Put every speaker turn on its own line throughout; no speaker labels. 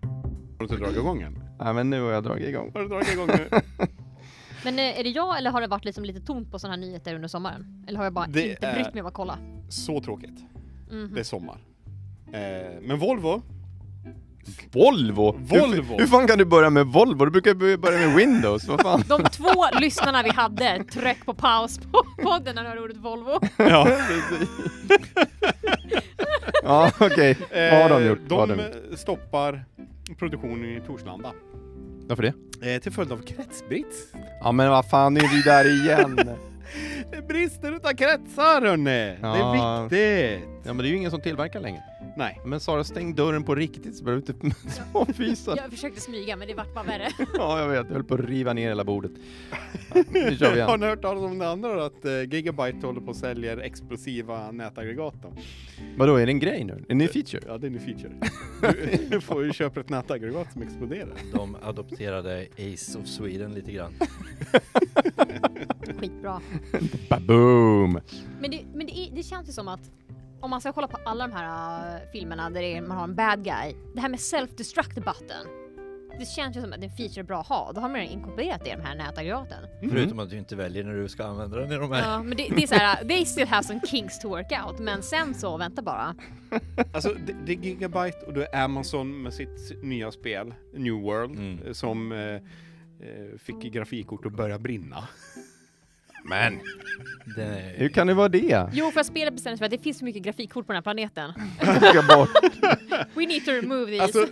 Har du inte dragit igång än?
Nej, men nu har jag dragit igång.
Har du dragit igång nu?
Men eh, är det jag eller har det varit liksom lite tomt på sådana här nyheter under sommaren? Eller har jag bara
Det
inte
är-
brytt mig om att kolla?
Så tråkigt.
Mhm.
Det är sommar. Eh, men Volvo,
Volvo?
Volvo.
Hur, hur fan kan du börja med Volvo? Du brukar ju börja med Windows, vad fan?
De två lyssnarna vi hade tryck på paus på podden när de hörde ordet Volvo.
ja.
Ja, okej. Vad har de gjort? Vad har Eh, de gjort?
eh, de stoppar produktionen i Torslanda.
Varför det?
Eh, till följd av kretsbrist.
Ja, men vad fan, nu är vi där igen.
Det brister utan kretsar hörni!
Ja.
Det är viktigt!
Ja, men det är ju ingen som tillverkar längre.
Nej.
Men Sara, stäng dörren på riktigt så behöver du inte småfisa.
Jag försökte smyga men det vart bara värre.
Ja, jag vet. Jag höll på att riva ner hela bordet. Ja, nu kör vi
Har
igen.
ni hört talas om det andra då? Att eh, Gigabyte håller på och säljer explosiva nätaggregat då?
Vadå, är det en grej nu? En ny feature?
Ja, det är en ny feature. Du, du får ju köpa ett nätaggregat som exploderar.
De adopterade Ace of Sweden lite grann.
Skitbra.
Baboom!
Men, det, men det, är- det känns ju som att om man ska kolla på alla de här äh, filmerna där det är, man har en bad guy, det här med self-destruct button. Det känns ju som att det är en feature bra att ha, då har man redan inkorporerat det i de här nätaggregaten.
Mm.
Förutom att du inte väljer när du ska använda den i de här.
Ja, men det, det är såhär, they still have some kinks to work out, men sen så, vänta bara.
Alltså, det, det är Gigabyte och det är Amazon med sitt nya spel, New World,
Mm.
eh, som eh, eh, fick grafikkort att börja brinna.
Men!
Det-
Hur kan det vara det?
Jo, för att spelet bestämde sig för att det finns för mycket grafikkort på den här planeten.
Ska bort.
We need to remove these.
Alltså,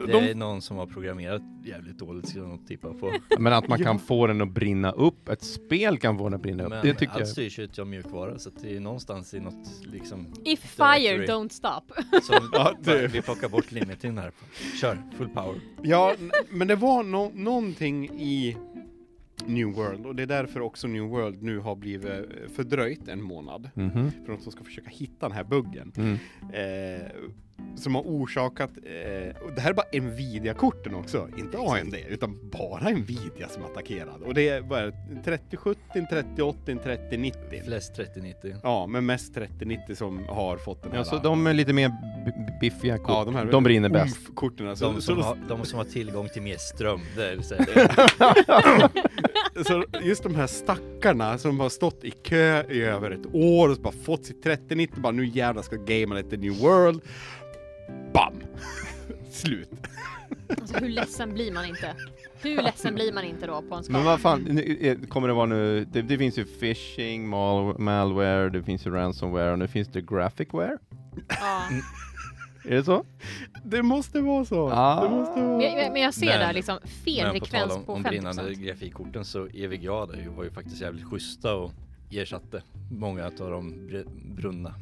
Det, det
De-
är någon som har programmerat jävligt dåligt skulle jag nog tippa på.
Men att man kan få den att brinna upp, ett spel kan få den att brinna upp,
Men alltså-
det tycker
allt
jag.
styrs ju av mjukvara så att det är någonstans i något liksom
If fire
Directory.
don't stop.
som
Ja, det-
vi plockar bort limiten här. Kör, full power.
Ja, n- men det var nå- någonting i New World och det är därför också New World nu har blivit eh, fördröjt en månad
Mhm.
för de som ska försöka hitta den här buggen.
Mm.
Eh, som har orsakat, eh, och det här är bara Nvidia-korten också, inte AMD, utan bara Nvidia som är attackerad. Och det är vad är det, 3070, 3080, 3090.
Flest 3090.
Ja, men mest 3090 som har fått den här.
Ja, så de är lite mer b- biffiga kort.
Ja, de här-
brinner bäst.
OMF-korten. Så,
De
så,
som,
då-
har, de som har tillgång till mer ström, det är så här,
Så just de här stackarna som har stått i kö i över ett år och så bara fått sitt 3090 bara nu jävlar ska jag gamea lite New World. Bam! Slut.
Alltså, hur ledsen blir man inte? Hur ledsen blir man inte då på en skala?
Men vad fan, nu, eh, kommer det vara nu, det, det finns ju phishing, mal, malware, det finns ju ransomware och nu finns det graphicware.
Ja.
Är det så?
Det måste vara så.
Ah.
Det måste
Men,
vara.
jag- men jag ser
Men-
där liksom fel
Men på tal
frekvens
om,
på
om
50
brinnande grafikkorten så EVGA där ju var ju faktiskt jävligt schyssta och ersatte många av de br- brunna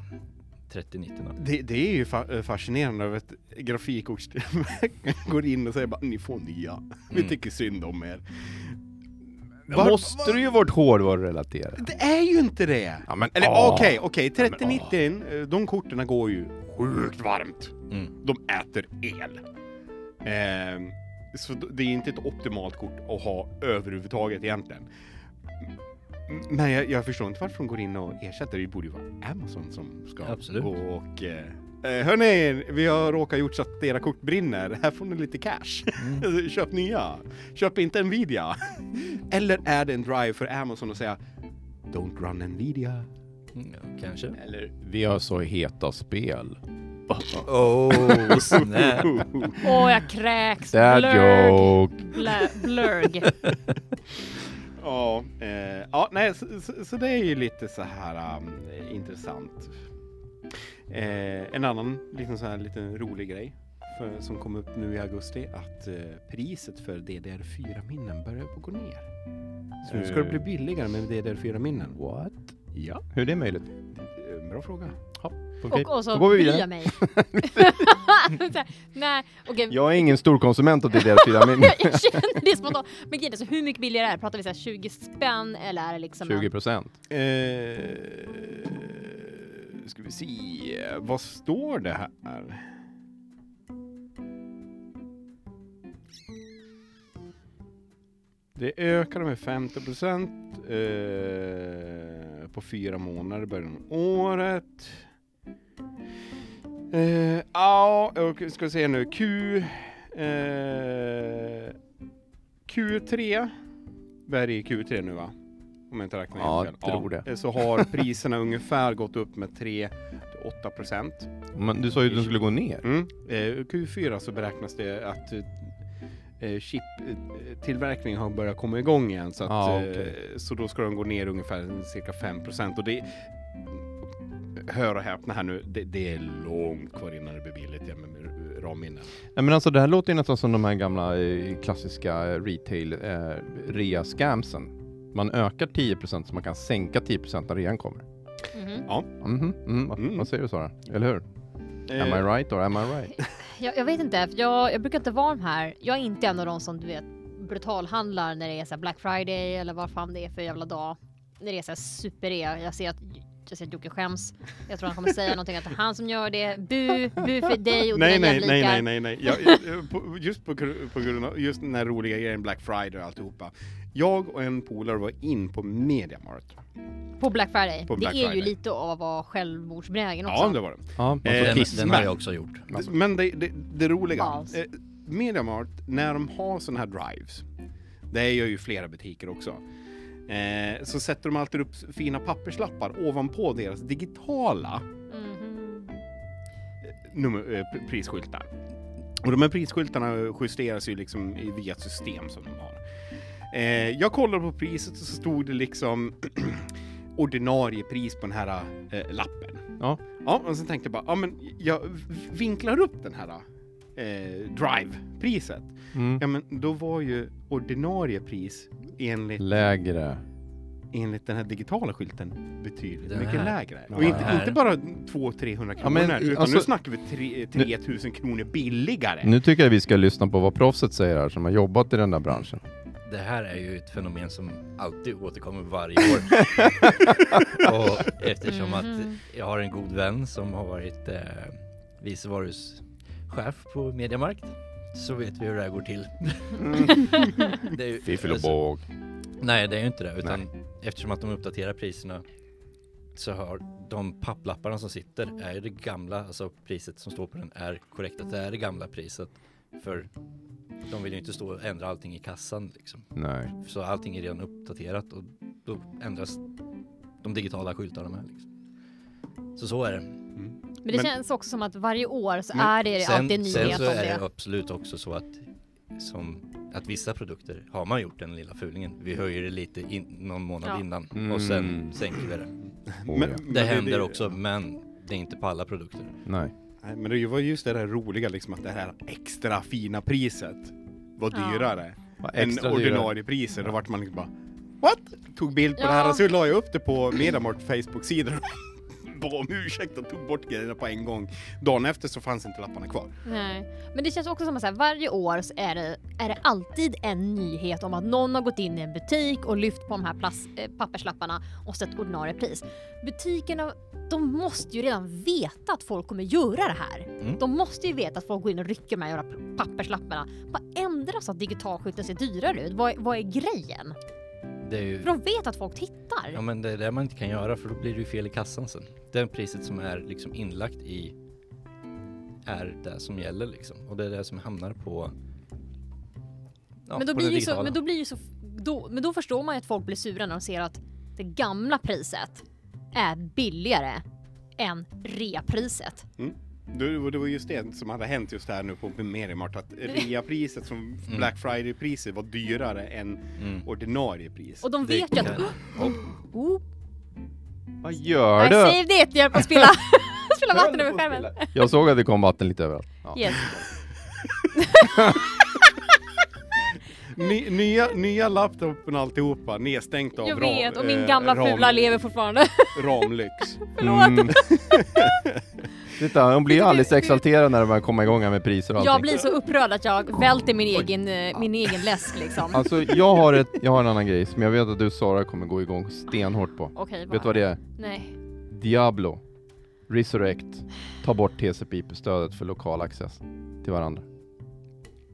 3090
Det, det är ju fa- eh, fascinerande över att grafikkortstillverkaren går in och säger bara ni får nya. Vi
Mm.
tycker synd om er.
Var, måste det ju varit hårdvarurelaterat?
Det är ju inte det!
Ja, men
Eller
ah.
okej, okej, 3090, eh, de korten går ju sjukt varmt.
mm.
De äter el. Ehm, så d- det är inte ett optimalt kort att ha överhuvudtaget egentligen. M- Mm, Men jag, jag förstår inte varför de går in och ersätter. Det borde ju vara Amazon som ska
Absolut.
gå och... Eh, eh, hörni, vi har råkat gjort så att era kort brinner. Här får ni lite cash.
Mm.
Köp nya. Köp inte Nvidia. Eller är det en drive för Amazon att säga Don't run Nvidia.
Mm, ja, Kanske.
Eller...
Vi har så heta spel.
Oh, snap.
Åh, jag kräks.
Dad
Blurg.
joke.
Blä- Blurg.
Ja, eh, ja nej, så, så, så det är ju lite så här um, eh, intressant. Eh, en annan liten så här liten rolig grej för, som kom upp nu i augusti att eh, priset för DDR4-minnen börjar på gå ner. Så nu ska det bli
Eh.
billigare med DDR4-minnen.
What?
Ja,
Hur är det möjligt?
eh, bra fråga.
Okej,
Och, och så
då går vi
bryr
vidare.
jag mig. Så här, Nej, okej.
Jag är ingen stor konsument av DDR4, men
Jag känner det spontant. Men grejen är så hur mycket billigare är det? Pratar vi så här 20 spänn eller är det liksom
20
en...
procent.
Eh, ska vi se, vad står det här? Det ökade med 50 procent eh, på fyra månader i början av året. Eh, Ja, och ska vi se nu. Q Eh, Q3, vi är i Q3 nu va? Om jag inte räknar helt
Ja,
fel.
tror det.
eh, Så har priserna ungefär gått upp med 3-8 procent.
Men du sa ju att de skulle gå ner.
Mm. Eh, Q4 så beräknas det att eh, chiptillverkningen har börjat komma igång igen så, att,
Ja,
eh,
Ah, okej.
så då ska de gå ner ungefär cirka 5 och det Hör och häpna här nu, det, det är långt kvar innan det blir billigt igen med ramminnen.
Nej men alltså det här låter ju nästan som de här gamla eh, klassiska eh, retail eh, rea-scamsen. Man ökar 10% så man kan sänka 10% när rean kommer.
Mhm.
Mhm, mm, vad-
Mm. Eh.
Vad säger du Sara? Eller hur? Am I right or am I right?
Jag, jag vet inte, för jag, jag brukar inte vara de här. Jag är inte en av de som du vet brutalhandlar när det är så här Black Friday eller vad fan det är för jävla dag. När det är så här super Jag ser att jag ser att Jocke skäms. Jag tror han kommer säga någonting att det är han som gör det. Bu, bu för dig och
Nej,
dina
nej, nej, nej,
jämlikar.
nej, nej. Jag, jag, på, just på, gru- på grund av just den här roliga grejen Black Friday och alltihopa. Jag och en polare var in på Mediamarkt.
På Black Friday.
På Black
det är ju
Friday.
lite av att vara självmordsbenägen också.
Ja, det var det.
Ja, alltså,
Eh,
Den,
Kiss
den har
Mac.
jag också gjort.
D- Men det, det, det roliga,
Balls.
eh, Mediamarkt, när de har sådana här drives, det gör ju flera butiker också, eh, så sätter de alltid upp s- fina papperslappar ovanpå deras digitala
Mhm.
nummer, eh, p- prisskyltar. Och de här prisskyltarna justeras ju liksom i- via ett system som de har. Eh, jag kollade på priset och så stod det liksom ordinarie pris på den här eh, lappen.
Ja.
Ja, och sen tänkte jag bara, ja men jag v- vinklar upp den här eh, drive-priset.
Mm.
Ja men då var ju ordinarie pris enligt,
Lägre.
enligt den här digitala skylten betydligt
Den
mycket
här.
lägre.
Ja,
och inte,
den här.
inte bara 200-300 kronor,
men,
utan
alltså-
nu snackar vi tre- 3000 kronor billigare.
Mm.
Nu tycker jag vi ska lyssna på vad proffset säger här som har jobbat i den där branschen.
Det här är ju ett fenomen som alltid återkommer varje år. och eftersom
Mhm.
att jag har en god vän som har varit eh, vice varuschef på Mediamarkt så vet vi hur det här går till. Mm. Det är ju- alltså,
båg.
Nej, det är ju inte det. Utan eftersom att de uppdaterar priserna så har de papplapparna som sitter är ju det gamla, alltså priset som står på den är korrekt att det är det gamla priset. För de vill ju inte stå och ändra allting i kassan liksom.
Nej.
Så allting är redan uppdaterat och då ändras de digitala skyltarna med. Liksom. Så så är det.
Men det
Men-
känns också som att varje år så
Men
är det alltid en
sen
nyhet
så
om
är det
det.
absolut också så att, som, att vissa produkter har man gjort den lilla fulingen. Vi höjer det lite in, någon månad
Ja.
innan
Mm.
och sen sänker vi det.
Oh, ja.
Det händer också men det är inte på alla produkter.
Nej.
Nej, men det var just det där roliga liksom att det här extra fina priset var
Ja.
dyrare
Vad
än
dyra.
ordinarie priser. Då vart man liksom bara What? Tog bild på det här
Ja.
och så la jag upp det på Medamart Facebook-sidor bad om ursäkt och tog bort grejerna på en gång. Dagen efter så fanns inte lapparna kvar.
Nej. Men det känns också som att så här, varje år så är det, är det alltid en nyhet om att någon har gått in i en butik och lyft på de här plast, eh, papperslapparna och sett ordinarie pris. Butikerna, de måste ju redan veta att folk kommer göra det här.
Mm.
De måste ju veta att folk går in och rycker med de här jävla papperslapparna. Vad ändras så att digitalskylten ser dyrare ut? Vad, vad är grejen?
Det är ju,
För de vet att folk tittar.
ja, men det är det man inte kan göra för då blir det ju fel i kassan sen. Det priset som är liksom inlagt i är det som gäller liksom. Och det är det som hamnar på ja,
men, då
på
blir
det
ju så,
digitala.
men då blir ju så, då, men då förstår man ju att folk blir sura när de ser att det gamla priset är billigare än reapriset.
Det, det var just det som hade hänt just här nu på Medamart att reapriset som
Mm.
Black Friday-priset var dyrare än
Mm.
ordinarie pris.
Och de
Det
vet ju att
kan-
oh, oh,
Vad gör
I
du?
saved it, jag höll på att spilla, spilla vatten över skärmen.
Jag såg att det kom vatten lite överallt. Ja.
Yes.
Ny, nya, nya laptopen alltihopa, nedstängt av
Jag
ram-
vet, och min
eh,
gamla
ram-
fula lever fortfarande.
Ramlyx.
Mm. Titta, hon blir alldeles exalterad när de börjar komma igång här med priser och
Jag
allting.
blir så upprörd att jag välter min egen, eh, min egen läsk liksom. Okej,
Alltså jag har, ett, jag har en annan grej som jag vet att du Sara kommer gå igång stenhårt på. Vet du vad det är?
Nej.
Diablo Resurrect Ta bort TCP-stödet för lokal access till varandra.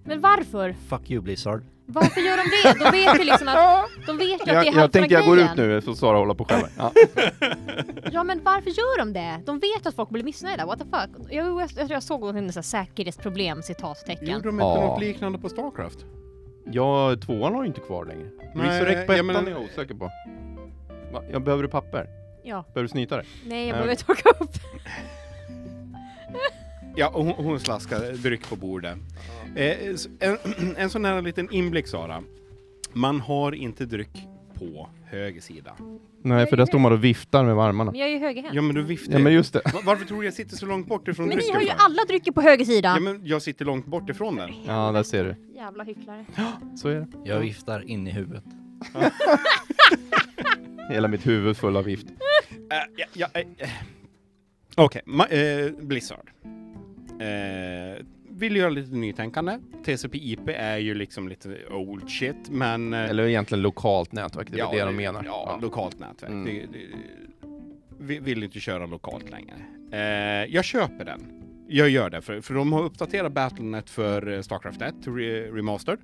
Men varför?
Fuck you Blizzard.
Varför gör de det? De vet ju liksom att, de vet ju att
Jag,
det är
jag
halva
tänker jag
grejen.
går ut nu så Sara håller på själv. Ja.
Ja men varför gör de det? De vet att folk blir missnöjda, what the fuck? Jag, jag, jag, tror jag såg någonting så här säkerhetsproblem, citattecken.
Gjorde de inte
Ja.
något liknande på Starcraft?
Ja, tvåan har ju inte kvar längre.
Nej,
Resurrect på
jag
ettan
menar-
är jag osäker på. Va? Jag behöver du papper?
Ja,
Behöver du snyta dig?
nej jag
Nej.
behöver torka upp.
Ja, och hon, hon slaskar dryck på bordet. Eh, s- en, en sån här liten inblick Sara. Man har inte dryck på höger sida.
Nej, för där står man och viftar med armarna.
Men jag är ju högerhänt.
Ja men du viftar
Ja, men just det.
Va- Varför tror du jag sitter så långt bort ifrån
men ni
drycken?
har ju
för?
alla drycker på höger sida!
Ja men jag sitter långt bort ifrån den.
Ja, där ser du.
Jävla hycklare.
Så är det.
Jag viftar in i huvudet.
Hela mitt huvud full av vift.
Eh, ja, ja, eh, eh. Okej, ma- eh, Blizzard. Eh, vill göra lite nytänkande. TCP/IP är ju liksom lite old shit, men... eh,
Eller egentligen lokalt nätverk, det är väl det de menar.
Ja,
Ja.
lokalt nätverk.
Mm.
Det, det, vi vill inte köra lokalt längre. Eh, jag köper den. Jag gör det, för, för de har uppdaterat Battlenet för eh, Starcraft 1, re- Remastered.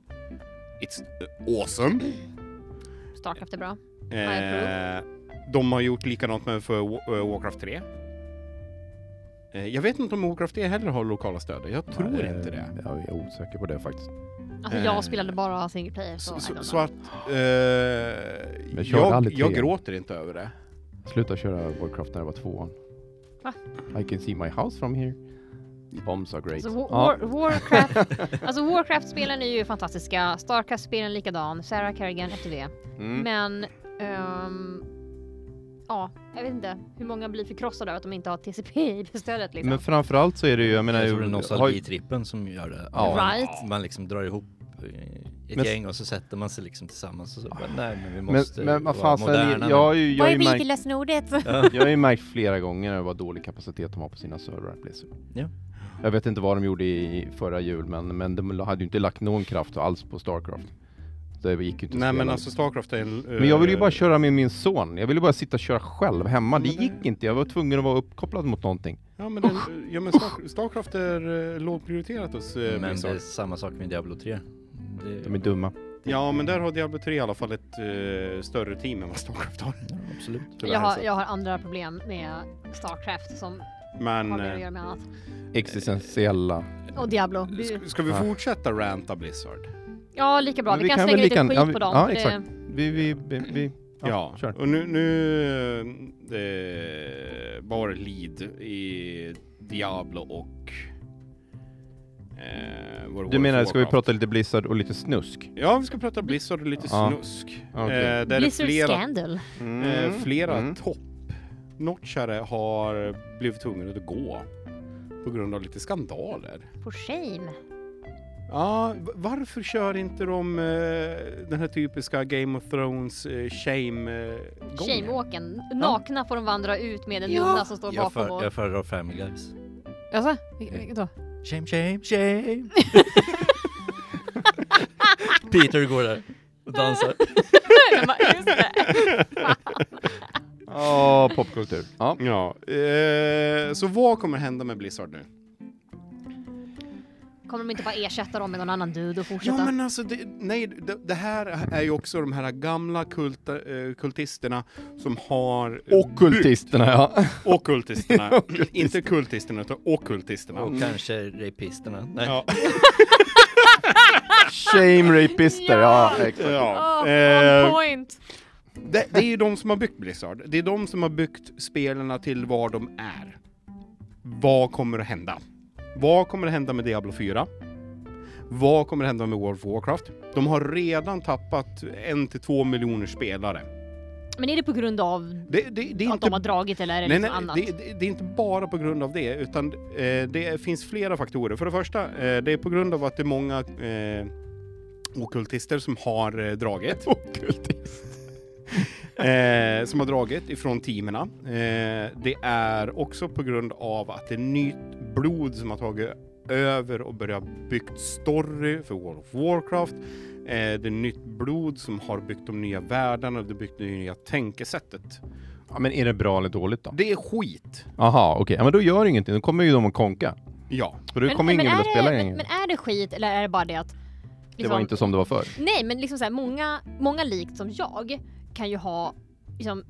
It's eh, awesome.
Starcraft är bra.
Eh, de har gjort likadant med för Wa- eh, Warcraft 3. Eh, jag vet inte om Warcraft 3 heller har lokala stöd. Jag tror
Eh,
inte det.
Ja, jag är osäker på det faktiskt.
Alltså
Eh,
jag spelade bara single player så,
Så,
I
så,
don't know.
så att eh,
Jag körde
jag,
aldrig
jag
trean.
gråter inte över det.
Sluta köra Warcraft när jag var tvåan.
Va?
I can see my house from here. Bombs are great.
Alltså, Wa-
Ja.
War, Warcraft, alltså Warcraft-spelen är ju fantastiska, Starcraft-spelen likadan, Sarah Kerrigan efter det.
Mm.
Men, ehm, ja, jag vet inte hur många blir förkrossade av att de inte har TCP-stödet liksom.
Men framförallt så är det ju, jag menar...
jag tror det är
ju-
nostalgitrippen som gör det.
Ja.
Right.
Man liksom drar ihop eh, ett
Men-
gäng och så sätter man sig liksom tillsammans och så bara, nej men vi
Men,
måste
men vad
vara
fasen,
eh, moderna.
jag, jag, har ju- jag, har ju märkt-
lilla snordet?
jag har ju märkt flera gånger vad dålig kapacitet de har på sina servrar. Blizzard.
Ja.
Jag vet inte vad de gjorde i förra jul, men, men de hade ju inte lagt någon kraft alls på Starcraft. Det gick ju inte
Nej
att spela. liksom.
men alltså Starcraft är en... eh,
Men jag ville ju bara köra med min son. Jag ville bara sitta och köra själv hemma. Det gick inte. Jag var tvungen att vara uppkopplad mot någonting.
Ja men, den, ja, men Star, Starcraft är uh, lågprioriterat hos eh,
Men det
Blizzard.
är samma sak med Diablo 3. Det,
Liksom. De är dumma.
Ja men där har Diablo 3 i alla fall ett eh, större team än vad Starcraft har.
ja, absolut.
Tyvärr,
Jag har,
så.
jag har andra problem med Starcraft som
Men...
har mer att
eh,
göra med annat.
Existentiella.
Och Diablo. Du-
Ska, ska vi
Ja.
fortsätta ranta Blizzard?
Ja, lika bra.
Men
Vi,
vi
kan
kan
slänga
väl
lite
lika-
skit
ja, vi-
på dem.
ja,
för
exakt. Vi, vi, vi, vi.
Ja,
kör.
och nu, nu eh, var det lead i Diablo och... Eh, World
Du
of
menar, ska vi
Warcraft.
prata lite Blizzard och lite snusk?
Ja, vi ska prata Blizzard och lite
Ja.
snusk.
Okej.
Eh, där
Det,
är
Blizzard
flera,
Scandal.
eh, flera
Mm.
toppnotchare har blivit tvungna att gå på grund av lite skandaler.
For shame.
Ja, v- varför kör inte de eh, den här typiska Game of Thrones eh, shame-gången?
Shameåken. Nakna får de vandra ut med en
Ja.
nunna som står
Jag,
bakom.
för,
och...
jag föredrar Family Guys.
Jaså?
Vil-
Då?
Shame, shame, shame. Peter går där och dansar.
Just det.
Ja, popkultur. Ja.
Ja, eh, så vad kommer hända med Blizzard nu?
Kommer de inte bara ersätta dem med någon annan dude och fortsätta?
Ja men alltså, det, nej, det, det här är ju också de här gamla kulta, eh, kultisterna som har...
Ockultisterna, ja.
Okultisterna. inte kultisterna utan okultisterna.
Och kanske rapisterna. Nej.
Ja,
Shame rapister, ja.
Ja.
exakt.
ja.
Oh,
Eh,
on point.
det, det är ju de som har byggt Blizzard. Det är de som har byggt spelarna till var de är. Vad kommer att hända? Vad kommer att hända med Diablo 4? Vad kommer att hända med World of Warcraft? De har redan tappat en till två miljoner spelare.
Men är det på grund av
Det, det, det är
att
inte
de har dragit eller är det
Nej, nej,
liksom
det,
annat?
det, det är inte bara på grund av det, utan eh, det finns flera faktorer. För det första, eh, det är på grund av att det är många eh, okultister som har eh, dragit. eh, som har dragit ifrån teamerna. Eh, det är också på grund av att det är nytt blod som har tagit över och börjat byggt story för World of Warcraft. Eh, det är nytt blod som har byggt de nya världarna och det har byggt det nya tänkesättet.
ja. Men är det bra eller dåligt då?
Det är skit.
Aha, okej. Ja, men då gör ingenting. Då kommer ju de att konka.
Ja.
För då kommer ingen vilja
är
spela
det, men, liksom-
längre.
men är det skit eller är det bara det att
Det var inte som det var förr.
Nej, men liksom så här, många, många likt som jag kan ju ha liksom,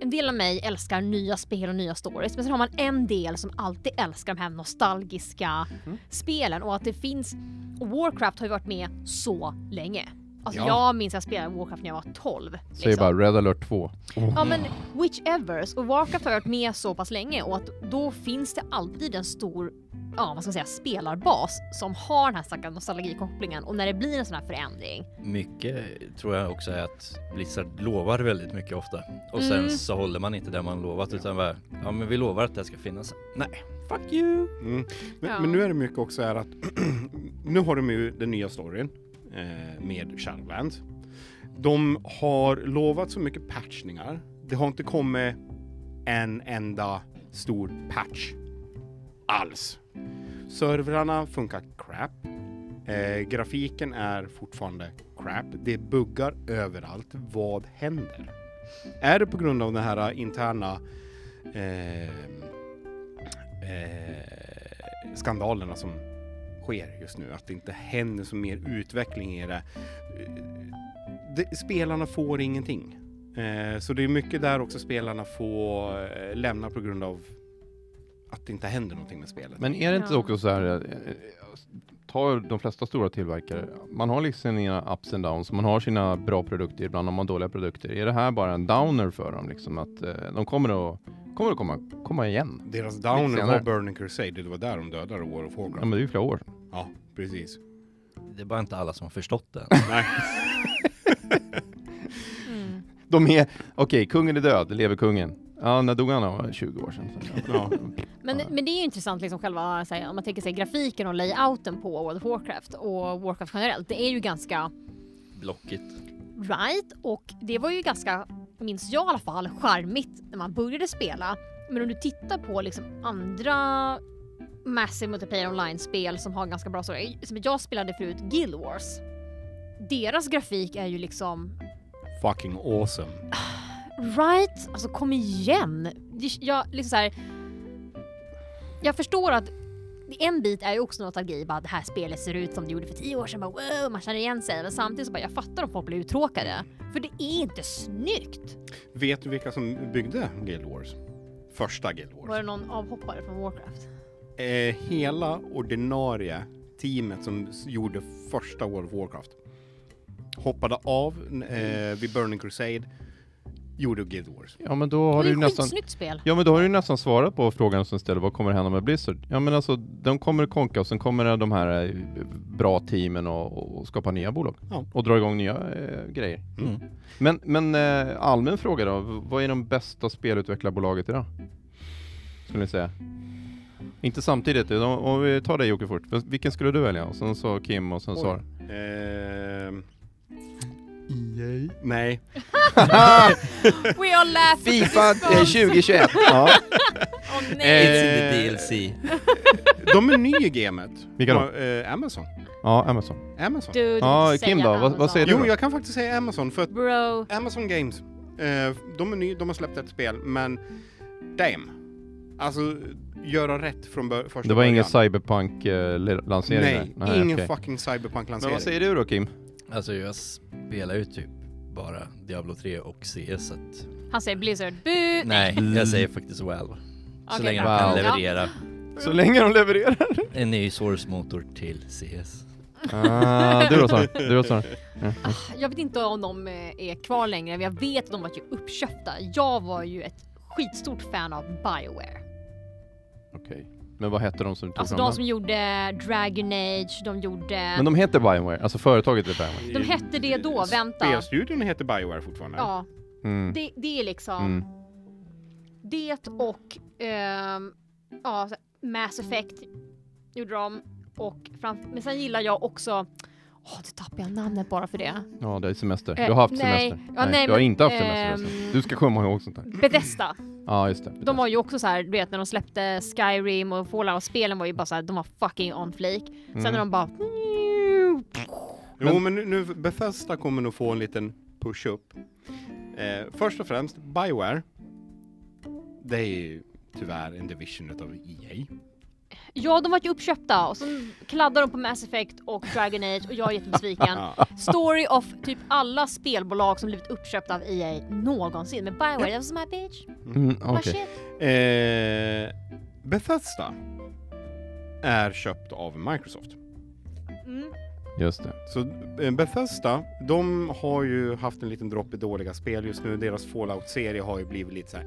en del av mig älskar nya spel och nya stories men sen har man en del som alltid älskar de här nostalgiska
Mhm.
spelen och att det finns och Warcraft har ju varit med så länge. Alltså
Ja.
jag minns jag spelade Warcraft när jag var 12.
Säg bara Red alert 2.
Ja men whichevers och Warcraft har varit med så pass länge och att då finns det alltid en stor ja vad ska man säga spelarbas som har den här stackars nostalgikopplingen och när det blir en sån här förändring
Mycket tror jag också är att Blizzard lovar väldigt mycket ofta och sen
Mm.
så håller man inte det man lovat utan bara ja men vi lovar att det här ska finnas. Nej, fuck you!
Mm. Men,
Ja.
men nu är det mycket också är att nu har de ju den nya storyn eh, med Shadowlands. De har lovat så mycket patchningar. Det har inte kommit en enda stor patch alls. Servrarna funkar crap. Eh, grafiken är fortfarande crap. Det buggar överallt. Vad händer? Är det på grund av den här interna eh, eh, skandalerna som sker just nu. Att det inte händer så mer utveckling i det. Eh, det spelarna får ingenting. Eh, så det är mycket där också spelarna får eh, lämna på grund av att det inte händer någonting med spelet.
Men är det inte
Ja.
också så här, eh, eh, ta de flesta stora tillverkare, man har liksom sina ups and downs, man har sina bra produkter, ibland har man dåliga produkter. Är det här bara en downer för dem liksom? Att eh, de kommer att, kommer att komma, komma igen?
Deras downer
senare. Mm.
var Burning Crusade, det var där de dödade War of
Ja,
Warcraft.
men det är ju flera år sedan.
Ja, precis.
Det är bara inte alla som har förstått det.
Nej.
De är, okej, kungen är död, lever kungen. Ja, när dog han? Ja, 20 år sedan.
Ja.
Men,
Ja.
men det är ju intressant liksom själva, så här, om man tänker sig grafiken och layouten på World of Warcraft och Warcraft generellt. Det är ju ganska
Blocket.
right och det var ju ganska, minns jag i alla fall, charmigt när man började spela. Men om du tittar på liksom andra Massive Multiplayer Online-spel som har ganska bra story, som jag spelade förut, Guild Wars. Deras grafik är ju liksom
Fucking awesome.
Right? Alltså kom igen! Det- Jag, liksom så här, jag förstår att en bit är ju också nostalgi, bara det här spelet ser ut som det gjorde för tio år sedan, bara, wow, man känner igen sig. Men samtidigt så bara, jag fattar om folk blir uttråkade. För det är inte snyggt!
Vet du vilka som byggde Guild Wars? Första Guild Wars.
Var det någon avhoppare från Warcraft?
eh, hela ordinarie teamet som s- gjorde första World of Warcraft hoppade av
Mm.
eh, vid Burning Crusade, gjorde Guild Wars.
Ja, men då har
det
du
är
ju
ett
nästan...
skitsnyggt spel.
Ja men då har du ju nästan svarat på frågan som ställer vad kommer hända med Blizzard? Ja men alltså de kommer konka och sen kommer de här eh, bra teamen och, och skapa nya bolag
Ja.
och dra igång nya eh, grejer.
Mm.
Men, men eh, allmän fråga då, V- vad är de bästa spelutveckarbolaget idag? Skulle ni säga? Inte samtidigt, utan om- om vi tar dig Jocke fort. Vil- Vilken skulle du välja? Och sen sa Kim och sen
Oj.
sa... E
Ehm, nej,
We all laugh at this phone.
2021! ja.
Åh, nej.
Eh,
It's in the DLC.
de är ny i gamet.
Vilka då?
Eh, Amazon.
ja, Amazon.
Amazon.
Du, du
ja,
får inte
Kim
säga
då? Vad-
namn
vad
så.
säger du?
Jo, jag kan faktiskt säga Amazon för att
Bro,
Amazon Games, eh, de är ny, de har släppt ett spel, men damn. Alltså, göra rätt från bör- första
Det var ingen
början.
cyberpunk-lansering
Nej,
där?
ingen
okej.
fucking
Men vad
cyberpunk-lansering.
säger du då Kim?
Alltså jag spelar ju typ bara Diablo 3 och CS så att
han säger Blizzard. Bu!
nej, jag säger faktiskt well. Så
Okej,
länge
bra.
de kan
Wow.
leverera
Så länge de levererar.
en ny Source-motor till CS.
Ah, du då Sara? Du då Sara?
Jag vet inte om de eh, är kvar längre, men jag vet att de var ju uppköpta. Jag var ju ett skitstort fan av Bioware.
Okej. Men vad hette de som tog
Alltså
fram
de som
den?
gjorde Dragon Age, de gjorde...
Men de heter Bioware, alltså företaget heter Bioware.
de hette det då, vänta.
Spelstudion heter Bioware fortfarande.
Ja,
Mm.
det, det är liksom
Mm.
det och ehm, ja, så- Mass Effect gjorde de. Och fram, men sen gillar jag också, åh nu tappar jag namnet bara för det.
Ja, det är semester.
Eh,
Du har haft
nej.
semester.
Ja, nej,
du har
men,
inte haft semester.
ehm,
Ehm... Du ska komma ihåg sånt där.
Bethesda.
Ja, just det.
De var ju också så här, du vet när de släppte Skyrim och Fallout-spelen var ju bara så här, de var fucking on flake. Sen när de bara...
Jo, men nu, nu Bethesda kommer nog få en liten push-up. Eh, först och främst, E Bioware. Det är ju tyvärr en division utav EA.
Ja, de var ju uppköpta och sen kladdade de på Mass Effect och Dragon Age och jag är jättebesviken. Story of typ alla spelbolag som blivit uppköpta av EA någonsin. Men Bioware, that was my bitch.
Mm,
My
okej.
shit.
Eh, Bethesda är köpt av Microsoft.
Mm.
Just det.
Så eh, Bethesda, de har ju haft en liten dropp i dåliga spel just nu. Deras Fallout-serie har ju blivit lite så här.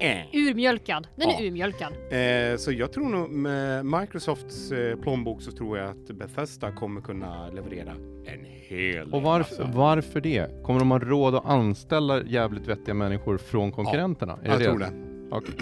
eh.
Urmjölkad. Den
Ja.
är urmjölkad.
Eh, så jag tror nog med Microsofts eh, plånbok så tror jag att Bethesda kommer kunna leverera en hel
Och
del,
varför,
alltså.
varför det? Kommer de ha råd att anställa jävligt vettiga människor från konkurrenterna? Är
Jag tror det.
Okej.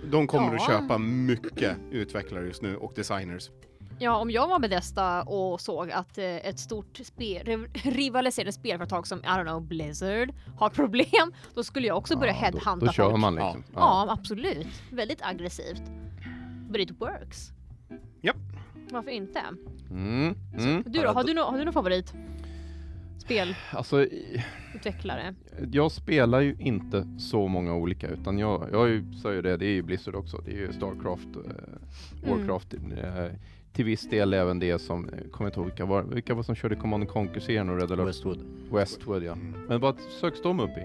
De kommer att
Ja.
köpa mycket utvecklare just nu och designers.
Ja, om jag var Bethesda och såg att eh, ett stort spel, riv- rivaliserande spelföretag som, I don't know, Blizzard har problem, då skulle jag också börja
Ja,
headhunta
Då, då kör
folk.
man liksom.
Ja, absolut. Väldigt aggressivt. But it works.
Japp.
Varför inte?
Mm, mm.
Du då, har du, nå- har du någon favorit? Spelutvecklare?
Alltså, i- jag spelar ju inte så många olika utan jag, jag är ju- sa ju det, det är ju Blizzard också. Det är ju Starcraft, eh,
Mm.
Warcraft. Eh, till viss del även det som, eh, kommer jag inte ihåg vilka var, vilka var som körde Command Conquer-serien och Red Alert
Westwood.
Westwood ja. Men vad söks de upp i?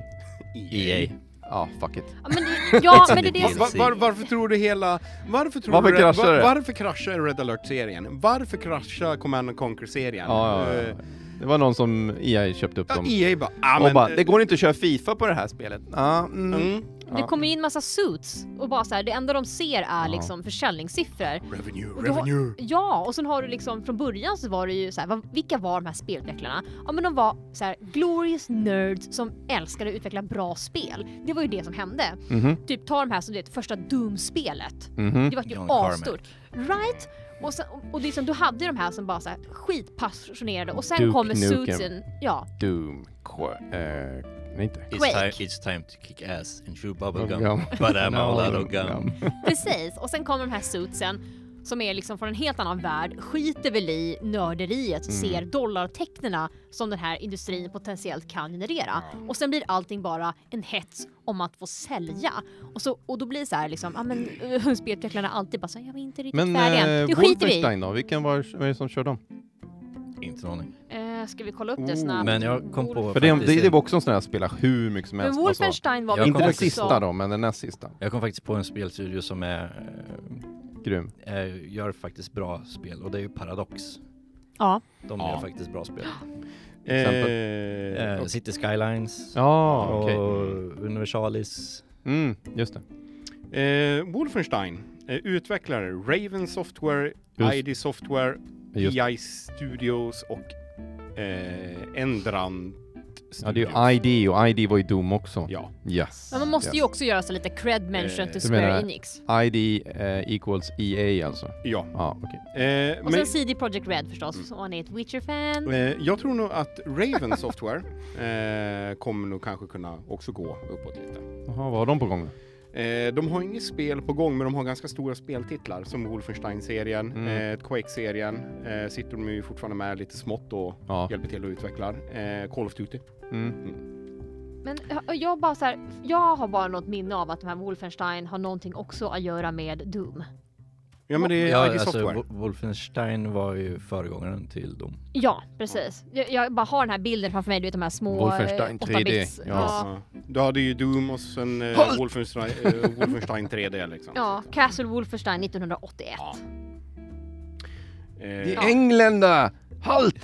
EA.
Ja, fuck it.
Ja, men det, ja, men det är det
It's
E Va-
som...
a
var, varför tror du hela... Varför, tror
Varför
du,
kraschar det?
varför kraschar Red Alert-serien? Varför kraschar Command and Conquer-serien?
Ja, ja, ja,
Eh,
ja. Det var någon som EA köpte upp
ja,
dem.
EA bara... Ah,
och
men,
bara,
eh,
det går inte att köra Fifa på det här spelet. Ja, mm.
mm,
Det kommer in massa suits och bara så här, det enda de ser är liksom försäljningssiffror.
Revenue,
Och du har-
revenue!
Ja, och sen har du liksom från början så var det ju så här, vad, vilka var de här spelutvecklarna? Ja men de var så här, glorious nerds som älskade att utveckla bra spel. Det var ju det som hände.
Mhm,
Typ ta de här som det första Doom-spelet.
mhm.
Det var ju
John Carmack.
asstort. Right? Och, sen, och- och liksom, du hade ju de här som bara så här, skitpassionerade och sen
Duke
kommer
Nukem.
suitsen. Ja,
Doom. Qu- eh, nej, inte.
Quake.
It's time, it's time to kick ass and chew bubblegum.
Bubblegum.
But I'm all out of
Ja.
gum.
Precis, och sen kommer de här suitsen som är liksom från en helt annan värld, skiter väl i
Mm.
nörderiet och ser dollartecknena som den här industrin potentiellt kan generera. Och sen blir allting bara en hets om att få sälja. Och, så, och då blir det så här liksom, ja men eh, spelutvecklarna alltid bara så här, jag är inte riktigt
Men
färdig än.
eh,
Det skiter vi i.
Wolfenstein då? Vilken var vem är det som kör dem?
Inte en aning.
Eh, ska vi kolla upp det snabbt?
Men jag kom på...
För det,
faktiskt
det, det
en-
var också en sån här spela hur mycket som
Men
helst. Alltså,
Wolfenstein var
Jag
väl
Inte
kom
den
också-
sista då, men den näst sista.
Jag kom faktiskt på en spelstudio som är,
Grym.
eh, eh, gör faktiskt bra spel och det är ju Paradox.
Ja.
De
Ja.
gör faktiskt bra spel.
exempel.
Eh,
Eh,
och-
City Skylines
Ja,
och
okej.
Universalis.
Mm, just det.
Eh, Wolfenstein, eh, utvecklare Raven Software,
Just.
ID Software,
Just.
PI Studios och eh, Endrant Studios.
Ja, det är ju ID och ID var ju Doom också.
Ja.
Yes.
Men man måste
yes.
ju också göra så lite cred mention
Eh,
till
du menar-
Square Enix.
ID eh, equals EA alltså.
ja.
Ja, okej.
Eh,
Och
men,
sen CD Projekt Red
Mm.
förstås, om man är ett Witcher-fan.
eh, jag tror nog att Raven Software eh, kommer nog kanske kunna också gå uppåt lite.
Jaha, vad har de på gång?
Eh, de har inget spel på gång, men de har ganska stora speltitlar som Wolfenstein-serien,
Mm.
eh, Quake-serien, eh, sitter de ju fortfarande med lite smått och
Ja.
hjälper till och utvecklar. Eh, Call of Duty.
Mm.
Men jag- jag, bara så här, jag har bara något minne av att de här Wolfenstein har någonting också att göra med Doom.
Ja, men det är ID
alltså,
Software.
alltså, Wo- Wolfenstein var ju föregångaren till dem.
Ja, precis. Jag, jag bara har den här bilden framför mig, du vet de här små... eh,
Wolfenstein
8 bits.
3D, ja.
Ja.
Ja. Du hade ju Doom och sen eh, Wolfenstein, eh, Wolfenstein 3D liksom.
ja, Castle Wolfenstein 1981.
Ja.
Det
Eh,
är Engländer! Halt!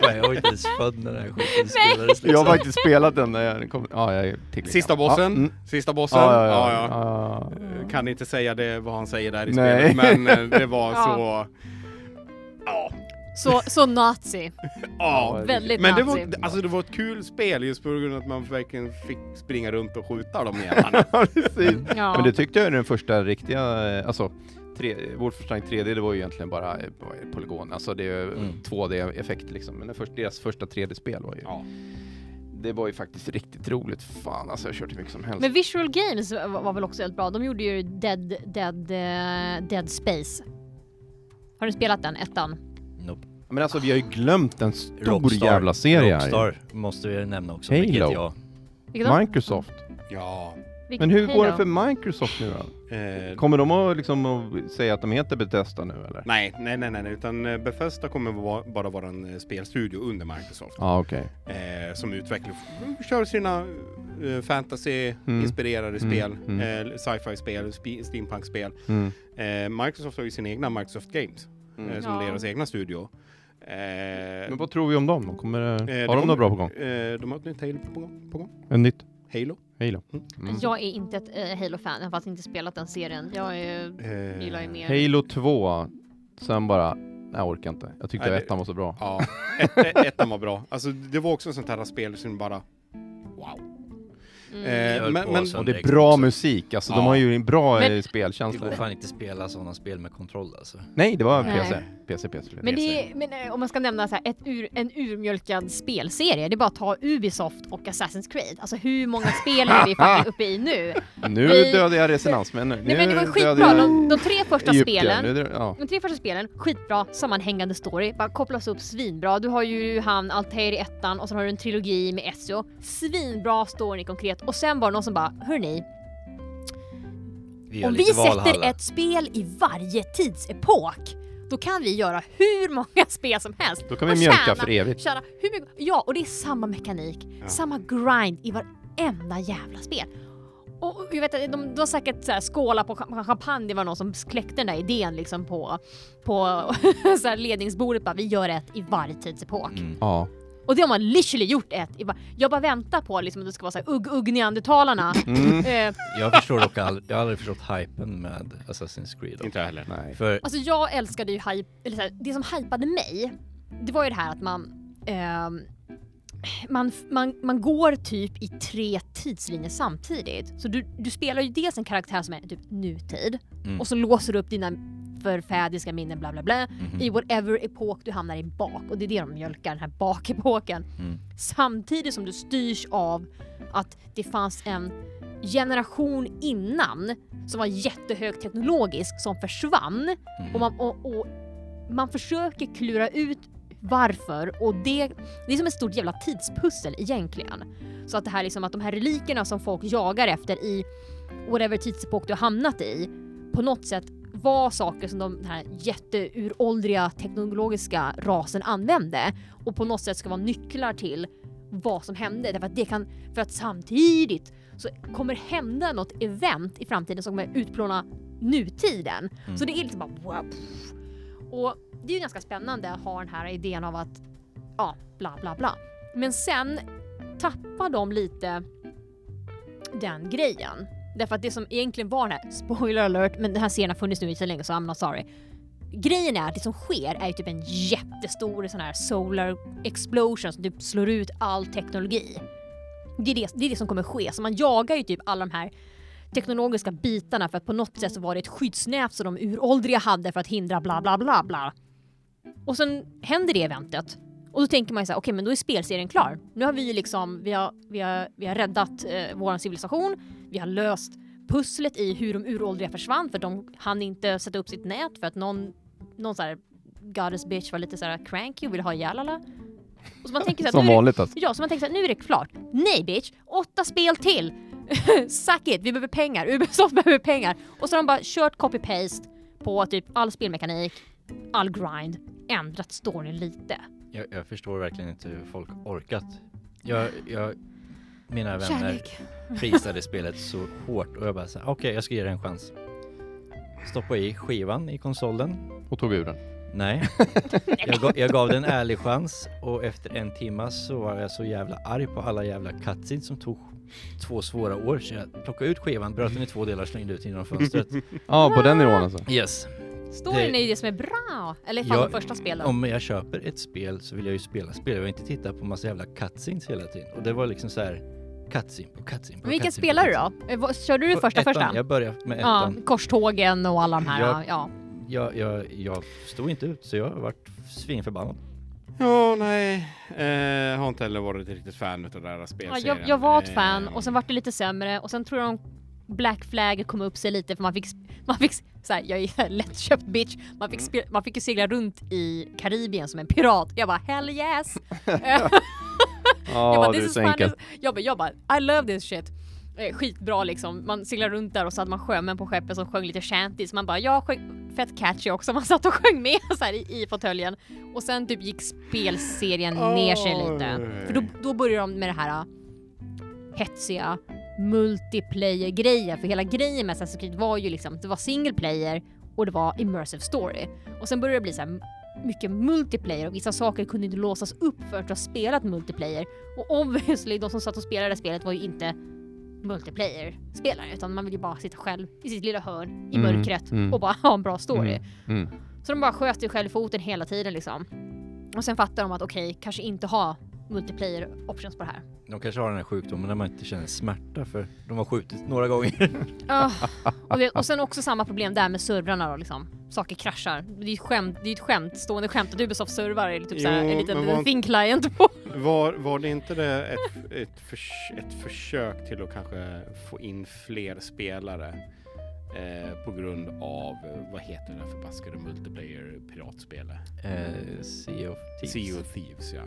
Nej, jag var inte ens född när den här skiten spelades.
Jag har
Liksom.
faktiskt spelat den när jag kom... Ja, jag är
Sista bossen, sista bossen.
Ja, ja,
ja,
ja. ja.
ja. Kan inte säga det vad han säger där i
Nej.
spelet, men eh, det var
Ja.
så... Ja,
Så, så nazi.
ja.
Väldigt
Men det
nazi.
var, alltså det var ett kul spel just på grund av att man verkligen fick springa runt och skjuta de jävlarna.
Ja, precis.
Ja.
Men det tyckte jag är den första riktiga, eh, alltså tre, Wolfenstein 3D det var ju egentligen bara eh, vad är det, polygon, alltså det är
Mm.
2D-effekt liksom. Men den första, deras första 3D-spel var ju,
Ja.
det var ju faktiskt riktigt roligt. Fan alltså jag har kört hur mycket som helst.
Men Visual Games var, var väl också helt bra. De gjorde ju Dead, dead, eh, dead Space. Har du spelat den, ettan?
Nope.
Men alltså vi har ju glömt en stor
Rockstar.
jävla serie här.
Rockstar måste vi nämna också,
Alltså.
Halo.
vilket jag...
Vilket då?
Microsoft.
ja.
Riktigt,
Men hur
hej
går det
då.
för Microsoft nu då?
Eh,
Kommer de att, liksom, att säga att de heter Bethesda nu eller?
nej, nej, nej, nej, nej, utan eh, Bethesda kommer va- bara vara en eh, spelstudio under Microsoft
Ja, okej.
eh, som utvecklar, kör sina eh, fantasy-inspirerade
Mm,
spel,
mm.
eh, sci-fi-spel, spi- steampunk-spel.
Mm.
Eh, Microsoft har ju sina egna Microsoft Games
Mm.
eh, som
Ja.
är deras egna studio. Eh,
Men vad tror vi om dem? då? Kommer, det-
det
har de
kommer-
något bra på gång?
eh, de har ett nytt Halo på gång. På gång.
En nytt?
Halo.
Hej då. Mm.
Jag är inte ett eh, Halo-fan, jag har faktiskt inte spelat den serien. Jag är,
Eh,
gillar ju mer...
Halo 2, sen bara, nej jag orkar inte. Jag tyckte
Nej,
att
det-
ettan var så bra.
Ja, ett- ett- ettan var bra. Alltså det var också sånt här spel som bara, wow.
Mm.
Eh,
Jag höll
men-
på
men-
så.
Och det är
Xbox
bra
också.
musik, alltså de
Ja.
har ju en bra
Men-
eh,
Det
spelkänsla.
går fan inte spela sådana spel med kontroll alltså.
Nej, det var
Nej.
PC. PC, PC.
Men, det är, men eh, om man ska nämna så här, ett ur, en urmjölkad spelserie, det är bara att ta Ubisoft och Assassin's Creed. Alltså hur många spel är vi faktiskt uppe i nu?
Nu
vi-
dödade jag resonansmännen.
Nej men det var
Nu dödade
skitbra,
jag
de, de tre första
Egypten.
spelen.
Nu dö- Ja.
De tre första spelen, skitbra, sammanhängande story, bara kopplas upp svinbra. Du har ju han Altair i ettan och sen har du en trilogi med Ezio. Svinbra storyn är konkret och sen var det någon som bara, hörni,
Vi gör
om vi
lite
sätter
Valhalla.
ett spel i varje tidsepok, då kan vi göra hur många spel som helst.
Då kan vi
och
mjölka
tjäna
för evigt.
Kära, hur mycket... Ja, och det är samma mekanik,
Ja.
samma grind i varenda jävla spel. Och och jag vet att de, de har säkert så här, skåla på cham- champagne, det var någon som kläckte den där idén liksom på, på så här ledningsbordet bara, vi gör ett i varje tidsepok.
Mm.
Ja.
Och det har man literally gjort ett. Jag bara, jag bara väntar på liksom, att det ska vara så här ugg-ugg neandertalarna.
Mm.
eh,
Jag förstår dock aldrig, jag har aldrig förstått hypen med Assassin's Creed. dock.
Inte jag heller.
Nej.
För
Alltså jag älskade ju hype, eller så här, det som hypade mig, det var ju det här att man, ehm, man, man, man går typ i tre tidslinjer samtidigt. Så du, du spelar ju dels en karaktär som är typ nutid
Mm.
och så låser du upp dina förfädiska minnen bla bla bla
Mhm.
i whatever epok du hamnar i bak och det är det de mjölkar, den här bakepoken.
Mm.
Samtidigt som du styrs av att det fanns en generation innan som var jättehög teknologisk som försvann
Mm.
och man, och, och man försöker klura ut varför och det, det är som ett stort jävla tidspussel egentligen. Så att det här liksom att de här relikerna som folk jagar efter i whatever tidsepok du har hamnat i på något sätt var saker som de den här jätteuråldriga teknologiska rasen använde och på något sätt ska vara nycklar till vad som hände därför att det kan för att samtidigt så kommer hända något event i framtiden som kommer utplåna nutiden. Så det är liksom bara wow. Och det är ju ganska spännande att ha den här idén av att ja, bla bla bla. Men sen tappar de lite den grejen. Därför att det som egentligen var den här, spoiler alert, men den här serien har funnits nu i så länge så I'm not sorry. Grejen är att det som sker är ju typ en jättestor sån här solar explosion som typ slår ut all teknologi. Det är det, det är det som kommer ske, så man jagar ju typ alla de här teknologiska bitarna för att på något sätt så var det ett skyddsnät som de uråldriga hade för att hindra bla bla bla bla. Och sen händer det eventet. Och då tänker man ju såhär, okej men då är spelserien klar. Nu har vi ju liksom, vi har, vi har, vi har räddat eh, vår civilisation, vi har löst pusslet i hur de uråldriga försvann för de hann inte sätta upp sitt nät för att någon, någon såhär goddess bitch var lite såhär cranky och ville ha ihjäl alla. Och så man tänker såhär,
Som
nu är det-
vanligt alltså.
Ja, så man tänker så här, nu är det klart. Nej bitch, åtta spel till! Suck it, vi behöver pengar, Ubisoft behöver pengar. Och så har de bara kört copy-paste på typ all spelmekanik, all grind, ändrat storyn lite.
jag, jag förstår verkligen inte hur folk orkat. Jag, jag, mina vänner
Kärlek.
prisade spelet så hårt och jag bara såhär, okej jag ska ge det en chans. Stoppa i skivan i konsolen,
Och tog ur den.
Nej. Jag, ga, jag gav den en ärlig chans och efter en timma så var jag så jävla arg på alla jävla cutscenes som tog två svåra år så jag plockade ut skivan, bröt den i två delar, slängde ut den genom fönstret.
Ja, på den nivån alltså.
Yes.
Storyn
Det-
är ju det som är bra! Eller fan
Jag-
de första spelen.
Om jag köper ett spel så vill jag ju spela spel. Jag vill inte titta på massa jävla cutscenes hela tiden. Och det var liksom så här cutscene på cutscene på
Vilken
cutscene på
spelar du
cutscene.
då? Eh, vad- Körde du
På
första
typ. ettan.
första?
Jag började med
Ja,
ettan.
korstågen och alla de här.
Jag-
Ja.
Jag, jag, jag stod inte ut så jag vart svinförbannad.
Ja, nej. Eh, jag har inte heller varit riktigt fan utav det här
Ja,
spelserien.
jag, jag var ett fan
Eh,
och sen vart det lite sämre och sen tror jag de Black Flag kom upp sig lite för man fick, man fick så här, jag är en lättköpt bitch, man fick, spe, man fick ju segla runt i Karibien som en pirat. Jag bara hell yes! jag,
Ja,
bara,
det är
this is
så
fun.
enkelt.
jag, bara, jag bara I love this shit. eh, skitbra liksom. Man seglar runt där och så hade man sjömän på skeppet som sjöng lite shanty. Så man bara, jag sjöng fett catchy också. Man satt och sjöng med så här i, i fåtöljen. Och sen typ gick spelserien ner sig lite. För då, då börjar de med det här eh, hetsiga multiplayer-grejen. För hela grejen med Assassin's Creed var ju liksom, det var single player och det var immersive story. Och sen började det bli så här mycket multiplayer och vissa saker kunde inte låsas upp för att du har spelat multiplayer. Och obviously, de som satt och spelade det här spelet var ju inte multiplayer-spelare utan man vill ju bara sitta själv i sitt lilla hörn i
Mm,
mörkret
mm.
och bara ha en bra story.
Mm.
Så de bara sköt sig själv i foten hela tiden liksom. Och sen fattar de att okej, kanske inte ha multiplayer options på det här.
De kanske har den här sjukdomen när man inte känner smärta för de har skjutit några gånger.
Ah, och, det, och sen också samma problem där med servrarna då liksom. Saker kraschar. Det är ju ett skämt, det är ju ett skämt, stående skämt att Ubisoft servrar är typ såhär
Jo,
en liten
men vad-
thin client på.
Var, var det inte det ett, ett, förs- ett försök till att kanske få in fler spelare eh, på grund av, eh, vad heter det där förbaskade multiplayer piratspelet?
Eh, sea of Thieves.
Sea of Thieves ja.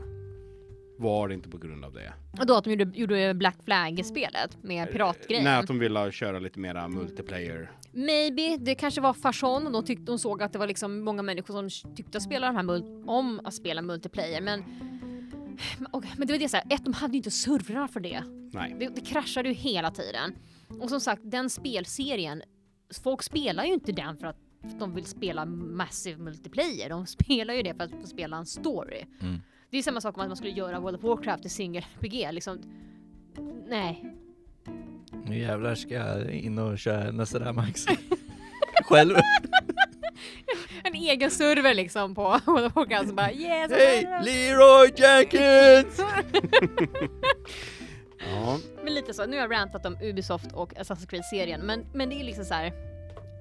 Var det inte på grund av det?
Och då att de gjorde, gjorde Black Flag-spelet med piratgrejen.
Nej, att de ville köra lite mera multiplayer.
Maybe, det kanske var farsan och de, tyckte, de såg att det var liksom många människor som tyckte att spela de här mul- om att spela multiplayer men men- och, men det var det såhär, ett, de hade ju inte servrar för det.
Nej.
det. Det kraschade ju hela tiden. Och som sagt, den spelserien, folk spelar ju inte den för att de vill spela massive multiplayer. De spelar ju det för att få spela en story.
Mm.
Det är samma sak om att man skulle göra World of Warcraft till single RPG. Liksom, nej,
Nu jävlar ska jag in och köra nästa där Max. Själv.
en egen server liksom på World of Warcraft. Så bara, yes,
Hej Leroy Jenkins!
Ja.
Men lite så, nu har jag rantat om Ubisoft och Assassin's Creed-serien, men, men det är liksom så här.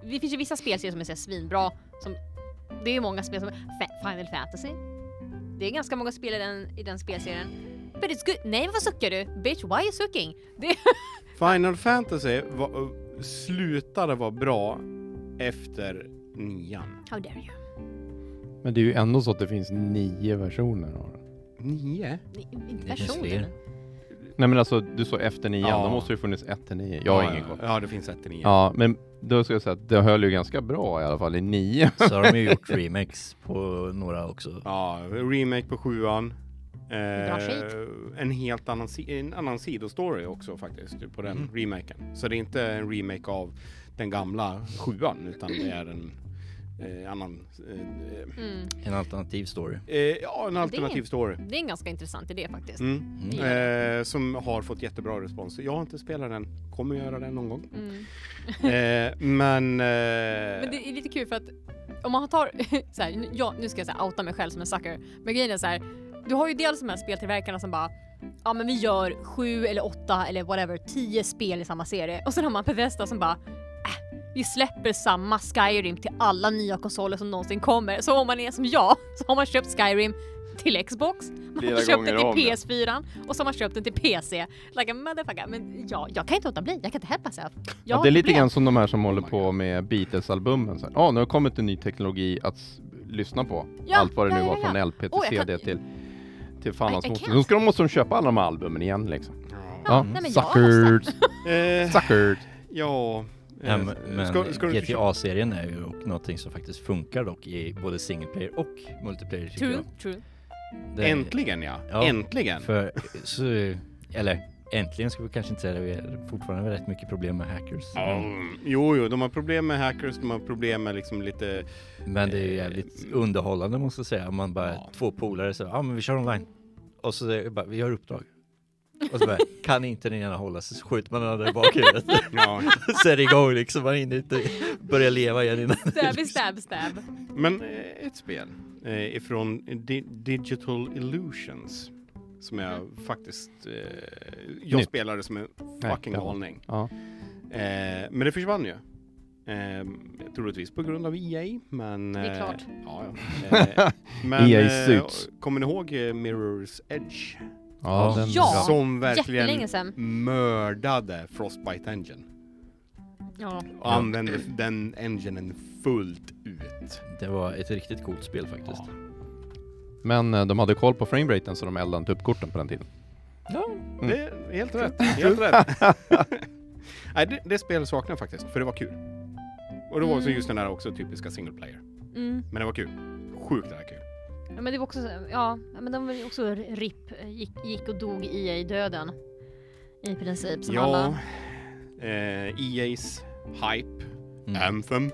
Det finns ju vissa spelserier som är så här svinbra, som, det är många spel som, Fa- Final Fantasy. Det är ganska många spel i den, i den spelserien. But it's good. Nej vad suckar du? Bitch why you sucking? Det,
Final Fantasy var, slutade vara bra efter nian.
how dare you?
Men det är ju ändå så att det finns nio versioner av den.
Nio?
Ni- Inte
finns
personen.
fler.
Nej men alltså, du sa efter nian,
Ja.
då måste det ju funnits ett till nio. Jag har ingen koll.
Ja, det finns ett till nio.
Ja, men då ska jag säga att det höll ju ganska bra i alla fall i nio.
Så har de ju gjort remakes på några också.
Ja, remake på sjuan. Eh,
drar skit.
en helt annan, si- en annan sidostory också faktiskt på den remaken. Så det är inte en remake av den gamla sjuan utan det är en eh, annan, eh,
Mm.
En alternativ story.
eh, ja en alternativ story.
Det är en ganska intressant idé faktiskt.
Mm.
Mm.
Eh, som har fått jättebra respons. Jag har inte spelat den, kommer göra den någon gång.
Mm.
Eh, men... Eh,
Men det är lite kul för att om man tar, så här, nu- ja, nu ska jag så här, outa mig själv som en sucker, men grejen är så här, du har ju dels de här speltillverkarna som bara Ja men vi gör sju eller åtta eller whatever, tio spel i samma serie och sen har man Bethesda som bara äh, vi släpper samma Skyrim till alla nya konsoler som någonsin kommer. Så om man är som jag så har man köpt Skyrim till Xbox, man
Flera
har köpt
gånger
den
om,
till
ja.
PS4 och så har man köpt den till PC. Like a motherfucker. Men ja, jag kan inte låta bli, jag kan inte help myself. Jag
Ja,
har
det är lite
problem.
grann som de här som håller
Oh my
på
God.
med Beatles-albumen. Ja, nu har det kommit en ny teknologi att s- lyssna på.
Ja,
Allt vad det
ja,
nu
ja,
var
ja.
från LP till
Åh, jag
CD
kan-
till... Till fan
I-
hans
I
moster.
can't.
Nu ska de, måste de köpa alla de här albumen igen liksom.
ja.
Ja,
nej, men jag har
suckers,
Eh,
suckers.
ja. eh,
Ja, men Ehm, men
ska- ska du inte köpa-
GTA-serien är ju och någonting som faktiskt funkar dock i både single player och multiplayer tycker
True,
jag.
true.
Det-
Äntligen ja.
Ja.
Äntligen.
För, så, eller äntligen ska vi kanske inte säga det, vi har fortfarande rätt mycket problem med hackers.
Ja, jo, jo, de har problem med hackers, de har problem med liksom lite...
Men det är ju jävligt underhållande måste jag säga. Om man bara,
Ja.
två polare så, ja ah, men vi kör online. Och så säger jag bara, vi har uppdrag. Och så bara, kan inte den ena hålla sig så skjuter man den andra i bakhuvudet.
Ja.
så är det igång liksom, man hinner inte börja leva igen innan.
Stab, stab, stab.
Men eh, ett spel eh, ifrån Di- Digital Illusions som
Mm.
jag faktiskt... Eh, jag
Nytt.
spelade som en fucking
gammalt.
galning.
Ja.
Eh, men det försvann ju. Eh, troligtvis på grund av EA, men...
Det är
eh,
klart.
Ja, ja. Eh, men
EA
eh,
E suits.
kommer ni ihåg eh, Mirror's Edge?
Ja,
Ja.
den-
Ja.
Som verkligen
Jättelänge sen.
mördade Frostbite Engine.
Ja.
Och använde den enginen fullt ut.
Det var ett riktigt coolt spel faktiskt.
Ja.
Men eh, de hade koll på frameraten
Mm.
så de eldade inte upp korten på den tiden.
Det är helt rätt. Helt rätt. Nej, det, det spelet saknar jag faktiskt, för det var kul. Och det var också
Mm.
just den där också typiska single player.
Mm.
Men det var kul. Sjukt jävla kul.
Ja, men det var också, så- ja, ja, men de var ju också RIP, gick, gick och dog i döden. I princip, som alla.
eh, EA's Hype
Mm.
Äh,
Anthem.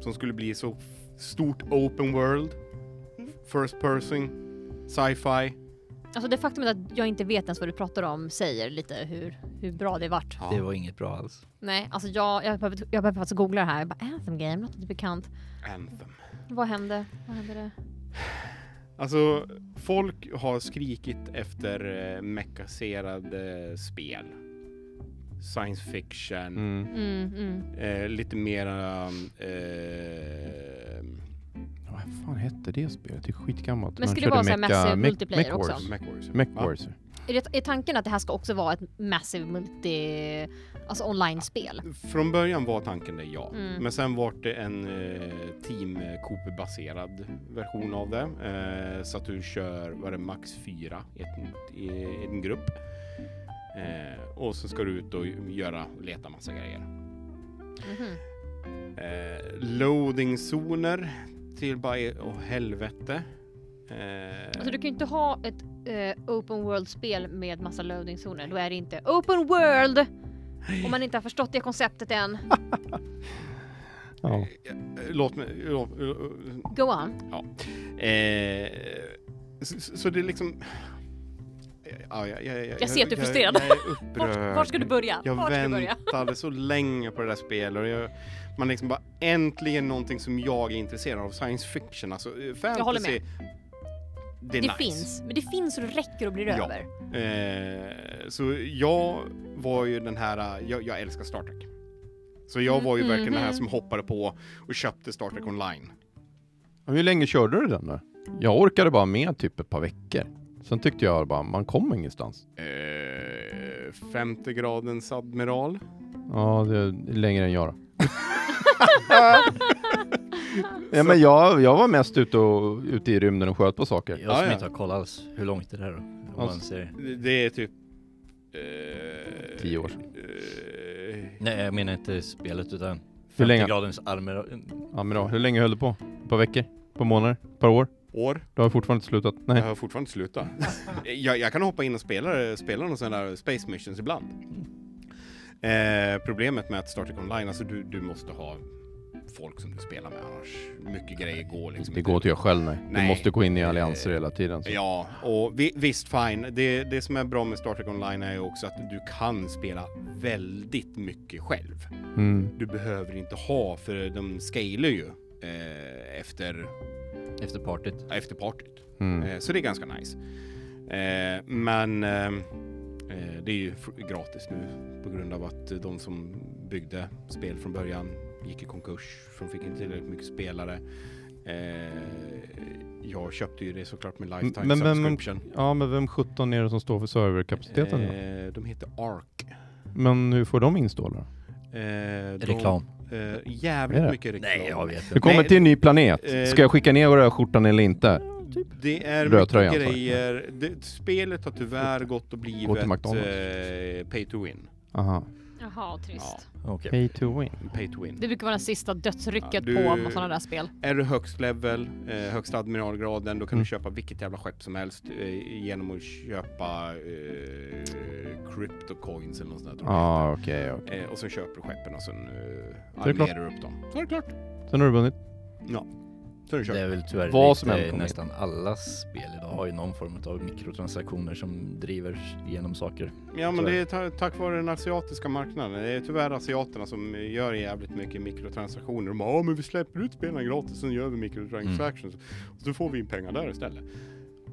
Som skulle bli så f- stort open world. First person. Sci-fi.
Alltså det faktumet att jag inte vet ens vad du pratar om säger lite hur, hur bra det vart.
Det var inget bra alls.
Nej, alltså jag, jag, behöver, jag behöver faktiskt googla det här. Jag bara, Anthem Game, låter inte bekant.
Anthem.
Vad hände? Vad hände det?
Alltså, folk har skrikit efter eh, mekaniserade spel. Science fiction.
Mm.
Mm, mm.
Eh, lite mera... Eh,
Ja, Vad fan hette det spelet? Det är skitgammalt.
Men
Man
skulle det vara
körde
så här massive
Mech-
multiplayer
Mech Wars.
också?
Mechwarrior.
Mech
Va?
Wars.
Är, det, är tanken att det här ska också vara ett massive multi... Alltså online-spel?
Från början var tanken det, ja.
Mm.
Men sen var det en eh, team Coop baserad version av det. Eh, så att du kör, vad är det, max fyra i, ett, i, i en grupp. Eh, och så ska du ut och göra, leta massa grejer.
Mhm.
Eh, Loading-zoner till bara, e- åh helvete. Eh,
Alltså du kan ju inte ha ett eh, open world-spel med massa loadingzoner. Då är det inte open world! Om man inte har förstått det konceptet än.
Ja.
låt mig, låt, låt,
Go on.
Eh, så, så- så det är liksom... Ja, jag, jag,
Jag ser att du är frustrerad.
Jag, jag är upprörd.
Vart, vart ska du börja?
Jag
vart ska du börja?
väntade så länge på det där spelet. Och jag, man liksom bara äntligen någonting som jag är intresserad av. Science fiction, alltså eh, fantasy.
håller med.
Det, är
Det
nice.
finns. Men det finns och det räcker och blir
Ja.
över.
Eh, så jag var ju den här, eh, jag, jag älskar Star Trek. Så jag var ju
Mm,
verkligen den här
mhm.
som hoppade på och köpte Star Trek online.
Ja, Hur länge körde du den då? Jag orkade bara med typ ett par veckor. Sen tyckte jag bara, man kommer ingenstans.
Eh, femte gradens admiral.
Ja, det är längre än jag då. ja, men jag, jag var mest ute, och, ute i rymden och sköt på saker.
Jag som
ja.
inte har koll alls. Hur långt är det här då? Om man
Alltså-
ser...
Det- Det är typ... Eh,
Tio år sedan.
Eh,
Nej, jag menar inte spelet utan...
Hur länge?
50 gradens armer...
Ja, men då, hur länge höll du på? Ett par veckor? Ett par månader? Ett par år?
år.
Du har fortfarande inte slutat?
Jag
Nej.
har fortfarande inte slutat. jag, jag kan hoppa in och spela, spela någon sån där Space Missions ibland. Eh, problemet med att starta online, alltså du, du måste ha folk som du spelar med annars. Mycket grejer går liksom
Det går inte jag själv, nej. Du
Nej.
måste gå in i allianser hela tiden. Så.
Ja, och vi, visst fine. Det, det som är bra med Star Trek Online är ju också att du kan spela väldigt mycket själv.
Mm.
Du behöver inte ha, för de scalar ju eh, efter
Efter partyt.
efter partyt.
Mm.
Eh, Så det är ganska nice. Eh, Men eh, eh, det är ju fr- gratis nu på grund av att eh, de som byggde spel från början gick i konkurs för de fick inte tillräckligt mycket spelare. Eh, Jag köpte ju det såklart med lifetime
Men vem-
subscription.
Ja, men vem 17 är det som står för serverkapaciteten? då?
Eh, De heter Ark.
Men hur får de installa? då?
Eh, de-
Reklam.
eh,
Är
Jävligt
det?
mycket reklam.
Nej, jag vet
Du
inte.
kommer
Nej,
till en ny planet.
eh,
Ska jag skicka ner rödskjortan eller inte?
Det är
Röd
mycket
tröja, antar jag.
grejer. Det, spelet har tyvärr gått och
Gå
blivit
till McDonald's.
eh, pay to win.
Aha.
Jaha,
Ja,
trist.
Okej.
Pay to win.
pay to win.
Det brukar vara det sista dödsrycket
Ja, du-
på sådana där spel.
Är du högst level, eh, högsta admiralgraden, då kan
Mm.
du köpa vilket jävla skepp som helst eh, genom att köpa eh, cryptocoins eller något sånt där.
Ja,
tror jag.
okej. okej.
Eh, och sen köper du skeppen och sen eh,
är det klart.
armerar du upp dem. Så är det klart.
Sen har du vunnit.
Så är det
Det
kört.
är väl tyvärr
Vad
Vad
som än
lite,
kommer
nästan alla spel idag har ju någon form av mikrotransaktioner som driver igenom saker.
Ja men
så är
det är ta- tack vare den asiatiska marknaden. Det är tyvärr asiaterna som gör jävligt mycket mikrotransaktioner. De bara, ja men vi släpper ut spelen gratis, sen gör vi mikrotransactions.
Mm.
Och så får vi in pengar där istället.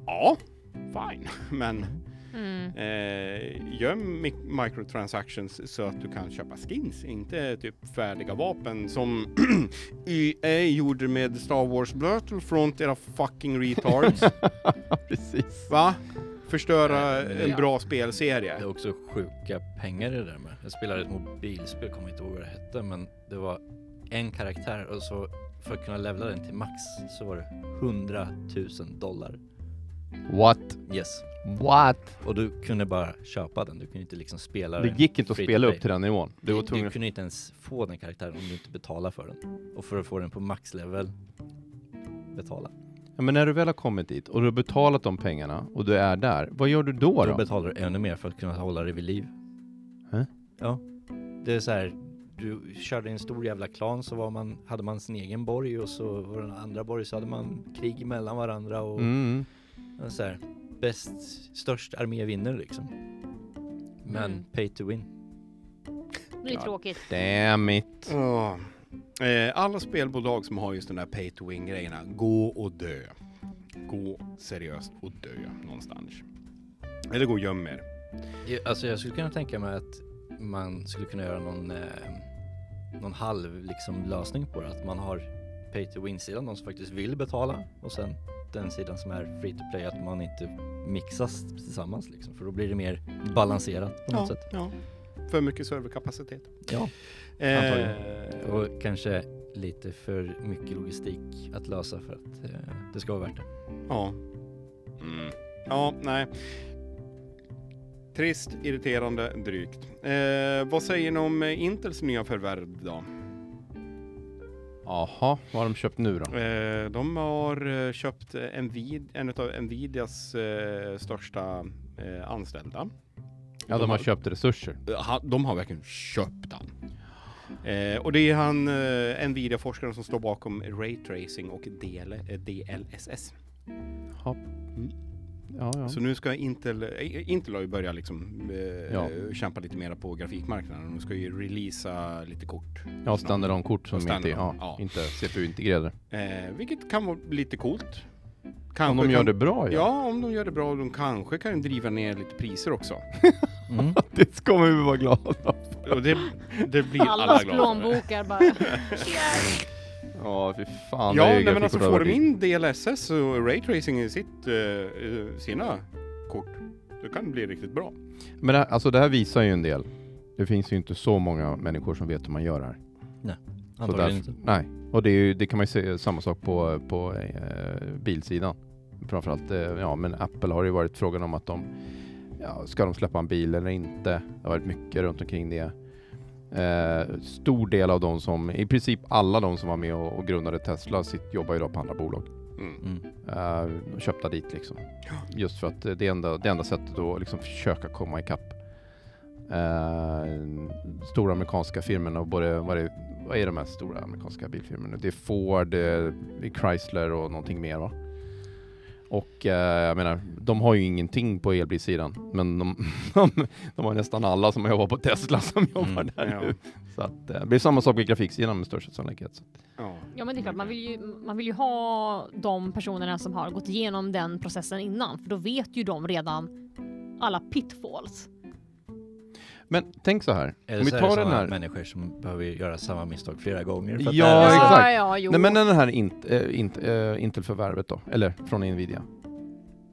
Ja, fine. Men
Mm.
Eh, gör mi- microtransactions så att du kan köpa skins, inte typ färdiga vapen som EA gjorde med Star Wars Battlefront, era fucking retards.
Precis.
Va? Förstöra
Eh, Ja.
en bra
Det
spelserie.
är också sjuka pengar i det där med. Jag spelade ett mobilspel, kommer inte ihåg vad det hette, men det var en karaktär och så för att kunna levla den till max så var det 100 000 dollar.
What?
Yes.
What?
Och du kunde bara köpa den, du kunde inte liksom spela
Det
den
gick inte att
free to
spela
play.
upp till den nivån. Du var tvungen
Du
att...
kunde inte ens få den karaktären om du inte betalade för den. Och för att få den på maxlevel, betala.
Ja, men när du väl har kommit dit och du har betalat de pengarna och du är där, vad gör du då?
Då
då?
betalar du ännu mer för att kunna hålla dig vid liv.
Hä?
Ja. Det är så här, du körde i en stor jävla klan så var man, hade man sin egen borg och så var det en andra borg så hade man krig mellan varandra och
Mm.
och så här, bäst, störst armé vinner liksom. Men
Mm.
pay to win.
Det är tråkigt.
Damn it.
Ja. Eh, Alla spelbolag som har just den där pay to win grejerna, gå och dö. Gå seriöst och dö någonstans. Eller gå och göm er.
I- Alltså jag skulle kunna tänka mig att man skulle kunna göra någon, eh, någon halv liksom, lösning på det. Att man har pay to win-sidan, de som faktiskt vill betala och sen den sidan som är free to play, att man inte mixas tillsammans liksom. För då blir det mer balanserat på något sätt.
ja. För mycket serverkapacitet.
Ja.
Eh,
Och kanske lite för mycket logistik att lösa för att eh, det ska vara värt det.
Ja. Mm. Ja, nej. Trist, irriterande, drygt. Eh, vad säger ni om eh, Intels nya förvärv då?
Jaha, vad har de köpt nu då?
Eh, de har eh, köpt eh, Nvid- en av Nvidias eh, största eh, anställda.
Ja, de har köpt resurser.
Eh, ha- de har verkligen köpt han. Eh, och det är han, eh, Nvidia-forskaren som står bakom Raytracing och DL, eh, DLSS.
Ja, ja. ja.
Så nu ska Intel, eh, Intel har ju börjat liksom eh,
Ja.
kämpa lite mera på grafikmarknaden. De ska ju releasa lite kort.
ja standardon-kort som
Standard-
inte, ja,
ja.
inte CPU-integrerade.
Eh, vilket kan vara lite coolt.
Om
Kanske
de gör
kan,
det bra
Ja.
ja.
om de gör det bra. De kanske kan driva ner lite priser också.
Mm.
Det kommer vi vara glada
Och det, det blir alla,
Allas
glada för.
plånbokar bara.
Ja, fy fan.
Ja,
det är
nej, men
grafikkort
alltså
över
får de
tid.
in DLSS och Raytracing i sitt, eh, eh, sina kort, då kan det bli riktigt bra.
Men det, här- alltså det här visar ju en del. Det finns ju inte så många människor som vet hur man gör det här. Så
Antagligen
därför-
inte.
Nej, och det, är ju, det kan man ju se samma sak på, på eh, bilsidan. Framförallt, eh, ja men Apple har ju varit frågan om att de, ja, ska de släppa en bil eller inte? Det har varit mycket runt omkring det. Eh, stor del av de som, i princip alla de som var med och, och grundade Tesla sitt, jobbar idag på andra bolag.
Mm.
Mm.
Eh, och köpta dit liksom.
Ja.
Just för att eh, det enda, det enda sättet att liksom försöka komma ikapp eh, stora amerikanska firmorna och både, vad är, vad är de här stora amerikanska bilfirmorna? Det är Ford, eh, det är Chrysler och någonting mer va? Och eh, jag menar, de har ju ingenting på elbilsidan, men de, de, har nästan alla som jobbar på Tesla som jobbar
Mm,
där
ja.
nu. Så att, eh, det blir samma sak med grafiksidan med största sannolikhet. Så.
Ja.
Ja men det är klart, man vill, ju, man vill ju ha de personerna som har gått igenom den processen innan för då vet ju de redan alla pitfalls.
Men tänk så här,
Eller
om vi
så är det
tar den
sådana
här...
människor som behöver göra samma misstag flera gånger. för att
Ja,
lära sig.
exakt.
Ja, ja, jo.
Nej men den här int, eh, int, eh, Intel-förvärvet då, eller från Nvidia.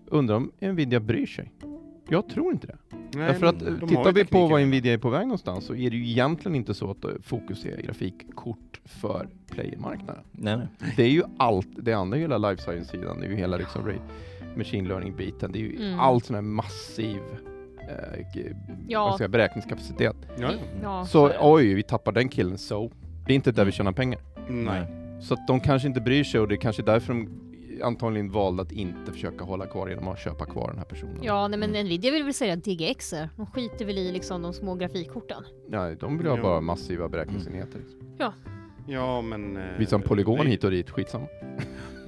Undrar om Nvidia bryr sig? Jag tror inte det. Därför att eh, tittar vi på vad Nvidia är på väg någonstans så är det ju egentligen inte så att eh, fokus är grafikkort för playermarknaden.
Nej, nej.
Det är ju allt, det andra är hela life science-sidan, det är ju hela liksom ray, machine learning-biten, det är ju
Mm.
all sån här massiv eh, g-
Ja.
vad ska jag, beräkningskapacitet.
Ja,
ja.
Så oj, vi tappar den killen, så. Det är inte
Mm.
där vi tjänar pengar.
nej.
Så att de kanske inte bryr sig och det är kanske därför de antagligen valde att inte försöka hålla kvar genom att köpa kvar den här personen.
Ja, nej, men Nvidia vill väl sälja DGXer. De skiter väl i liksom de små grafikkorten.
Nej, de vill ha
Ja. Mm.
bara massiva beräkningsenheter.
Ja, men... eh,
Visa en polygon
det-
hit och dit, skitsamma.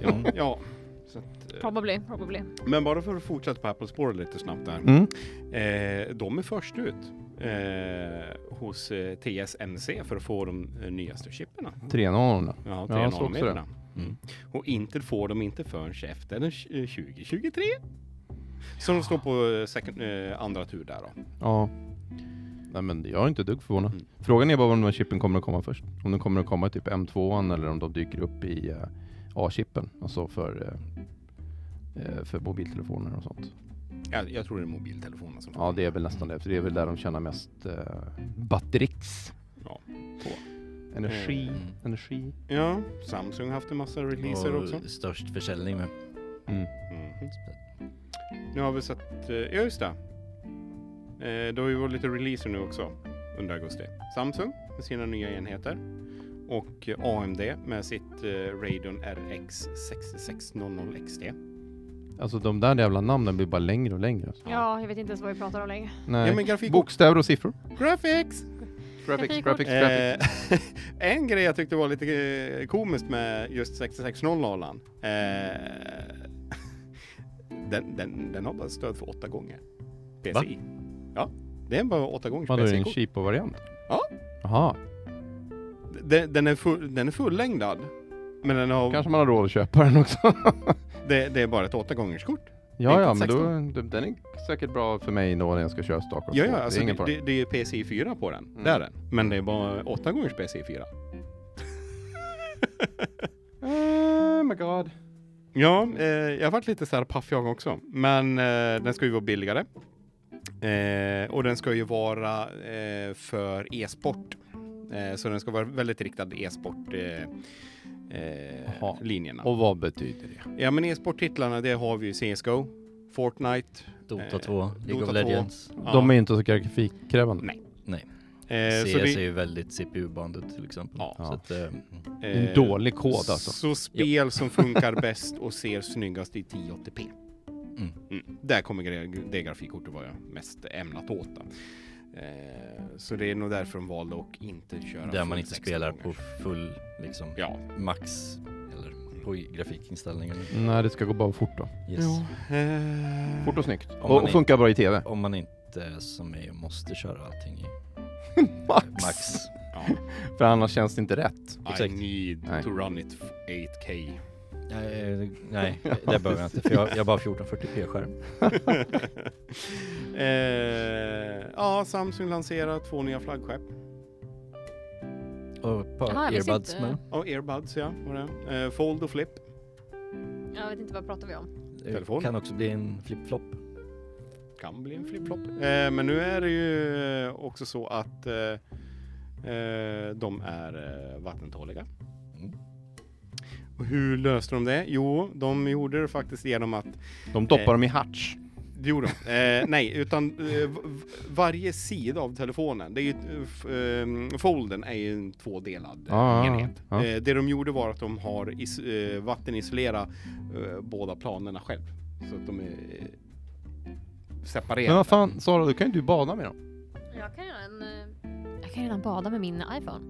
Ja. ja. Så att, eh,
Probably, probably.
men bara för att fortsätta på Apple-spåret lite snabbt där.
Mm.
Eh, de är först ut eh, hos eh, TSMC för att få de eh, nyaste chipperna.
3-0
Ja,
Ja, jag såg också
300-meterna.
det. Mm.
Och Intel får de inte förrän efter den tj- eh, 2023. Så de står på eh, second, eh, andra tur där då.
Ja. Nej men jag är inte ett dugg förvånad.
Mm.
Frågan är bara om de här chippen kommer att komma först. Om de kommer att komma i typ M2 eller om de dyker upp i eh, A-chippen. Alltså för, eh, eh, för mobiltelefoner och sånt.
Jag, jag tror det är mobiltelefonerna som
Ja det är väl nästan det. För det är väl där de tjänar mest eh, batterix.
Ja.
På. Energi.
Mm.
Energi.
Ja, Samsung har haft en massa releaser Mhm.
Och
också.
Mm.
störst försäljning med.
Mhm. Nu har vi sett, eh, ja just det. Eh, då har vi vår lite releaser nu också under augusti. Samsung med sina nya enheter och eh, AMD med sitt eh, Radeon RX 6600XT.
Alltså de där jävla namnen blir bara längre och längre. alltså.
Ja, jag vet inte ens vad vi pratar om längre.
Nej.
Ja, men grafik-
Bokstäver och siffror.
Graphics!
Graphics,
Grafikkort.
graphics, graphics.
Eh, en grej jag tyckte var lite eh, komiskt med just 6600 eh, den, den, den har bara stöd för åtta gånger. PCI. Ja, det är bara åtta gånger
Vadå, är det en
PCI-kort.
cheapo-variant?
Ja.
Jaha,
Den, den, är full, den är fullängdad. Men den har,
kanske man har råd att köpa den också.
det, det är bara ett åtta gångers kort.
ja, ja,
Inte
men då,
16.
d- den är säkert bra för mig då när jag ska köra Star Wars.
Ja, ja,
Det är
alltså
ingen Mm.
det,
fara.
det, det är PCI 4 på den. Det är den. Men det är bara åtta gångers PCI 4.
Oh my god.
Ja, eh, jag har varit lite så här paff jag också. Men eh, den ska ju vara billigare. Eh, och den ska ju vara eh, för e-sport. Eh, så den ska vara väldigt riktad e-sport eh, eh,
Jaha.
linjerna.
Och vad betyder det?
Ja, men e-sporttitlarna, det har vi ju CSGO, Fortnite.
Dota
Eh,
2, League
Dota
of
2.
Legends.
Ja.
De är inte så grafikkrävande.
Nej.
Nej,
Eh,
CS
så det-
är Alltså, ju väldigt CPU-bandet till exempel.
Ja.
Så att, eh,
En
eh,
dålig kod alltså.
Så spel som funkar bäst och ser snyggast i 1080p.
Mm.
Mm. Där kommer gra- det grafikkortet vara mest ämnat åt. Då. Eh, så det är nog därför de valde att inte köra
där
full
man inte
16
spelar på
gångers.
full liksom,
Ja.
max eller på grafikinställningarna.
Nej, det ska gå bara fort då.
Yes.
Eh,
Fort och snyggt.
Om
Och,
man
och
är-
funkar bra i tv.
Om man inte som mig måste köra allting i
Max.
max.
ja.
För annars känns det inte rätt.
I
Exakt.
need
Nej.
to run it f- 8k.
Nej, eh, nej det behöver jag inte för jag, jag har bara 1440p-skärm.
eh, ja, Samsung lanserar två nya flaggskepp.
Och ett par
Jaha, jag visste
earbuds
inte.
med.
Ja, earbuds ja. Var det. Eh, Fold och flip.
Jag vet inte vad pratar vi om.
Eh,
Telefon.
Kan också bli en flip-flop.
kan bli en flip-flop.
Mm.
Eh, men nu är det ju eh, också så att eh, eh, de är eh, vattentåliga.
Mm.
Och hur löste de det? Jo, de gjorde det faktiskt genom att...
De
Eh.
doppar dem i harts.
Det gjorde de. Eh, nej, utan eh, v- v- varje sida av telefonen, det är ju, eh, f- eh, folden är ju en tvådelad eh,
Ah, Ja, ja, ja.
enhet.
Ja.
Eh, det de gjorde var att de har is- eh, vattenisolerat eh, båda planerna själv. Så att de är eh, separerade.
Men vad fan, Sara, då kan ju du bada med dem.
Jag kan redan, eh, jag kan redan bada med min iPhone.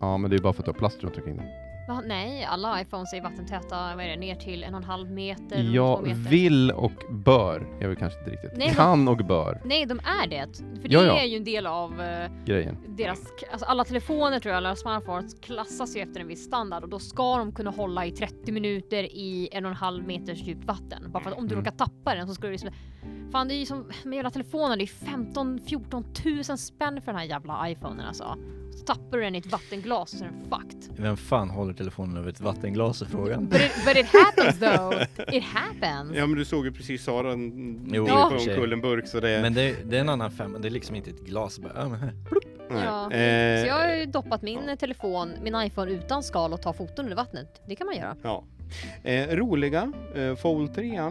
Ja, men det är ju bara för att du har plast runt omkring den.
Va? Nej, alla iPhones är vattentäta, vad är det, ner till en och en halv meter?
Jag
två meter.
vill och bör, jag vill kanske inte riktigt.
Nej, men-
kan och bör,
Nej, de är det. För
Ja,
det
ja.
är ju en del av eh,
grejen.
deras, alltså alla telefoner tror jag, alla smartphones klassas ju efter en viss standard och då ska de kunna hålla i 30 minuter i en och en halv meters djupt vatten. Bara för att om du
Mm.
råkar tappa den så ska du liksom... Fan det är ju som med jävla telefoner, det är 15-14 000 spänn för den här jävla iPhonen alltså. Så tappar du den i ett vattenglas så är den fucked.
Vem fan håller telefonen över ett vattenglas är frågan.
But it, but it happens though! It happens!
Ja men du såg ju precis Sara
Jo,
jo,
i och
på
för sig.
omkull en burk så det...
Men det, det är en annan femma, det är liksom inte ett glas bara, ja men här.
nej.
Ja.
Eh,
Så jag har ju doppat min telefon, min iPhone utan skal och tar foton under vattnet. Det kan man göra.
ja. Eh, roliga, eh, Fold 3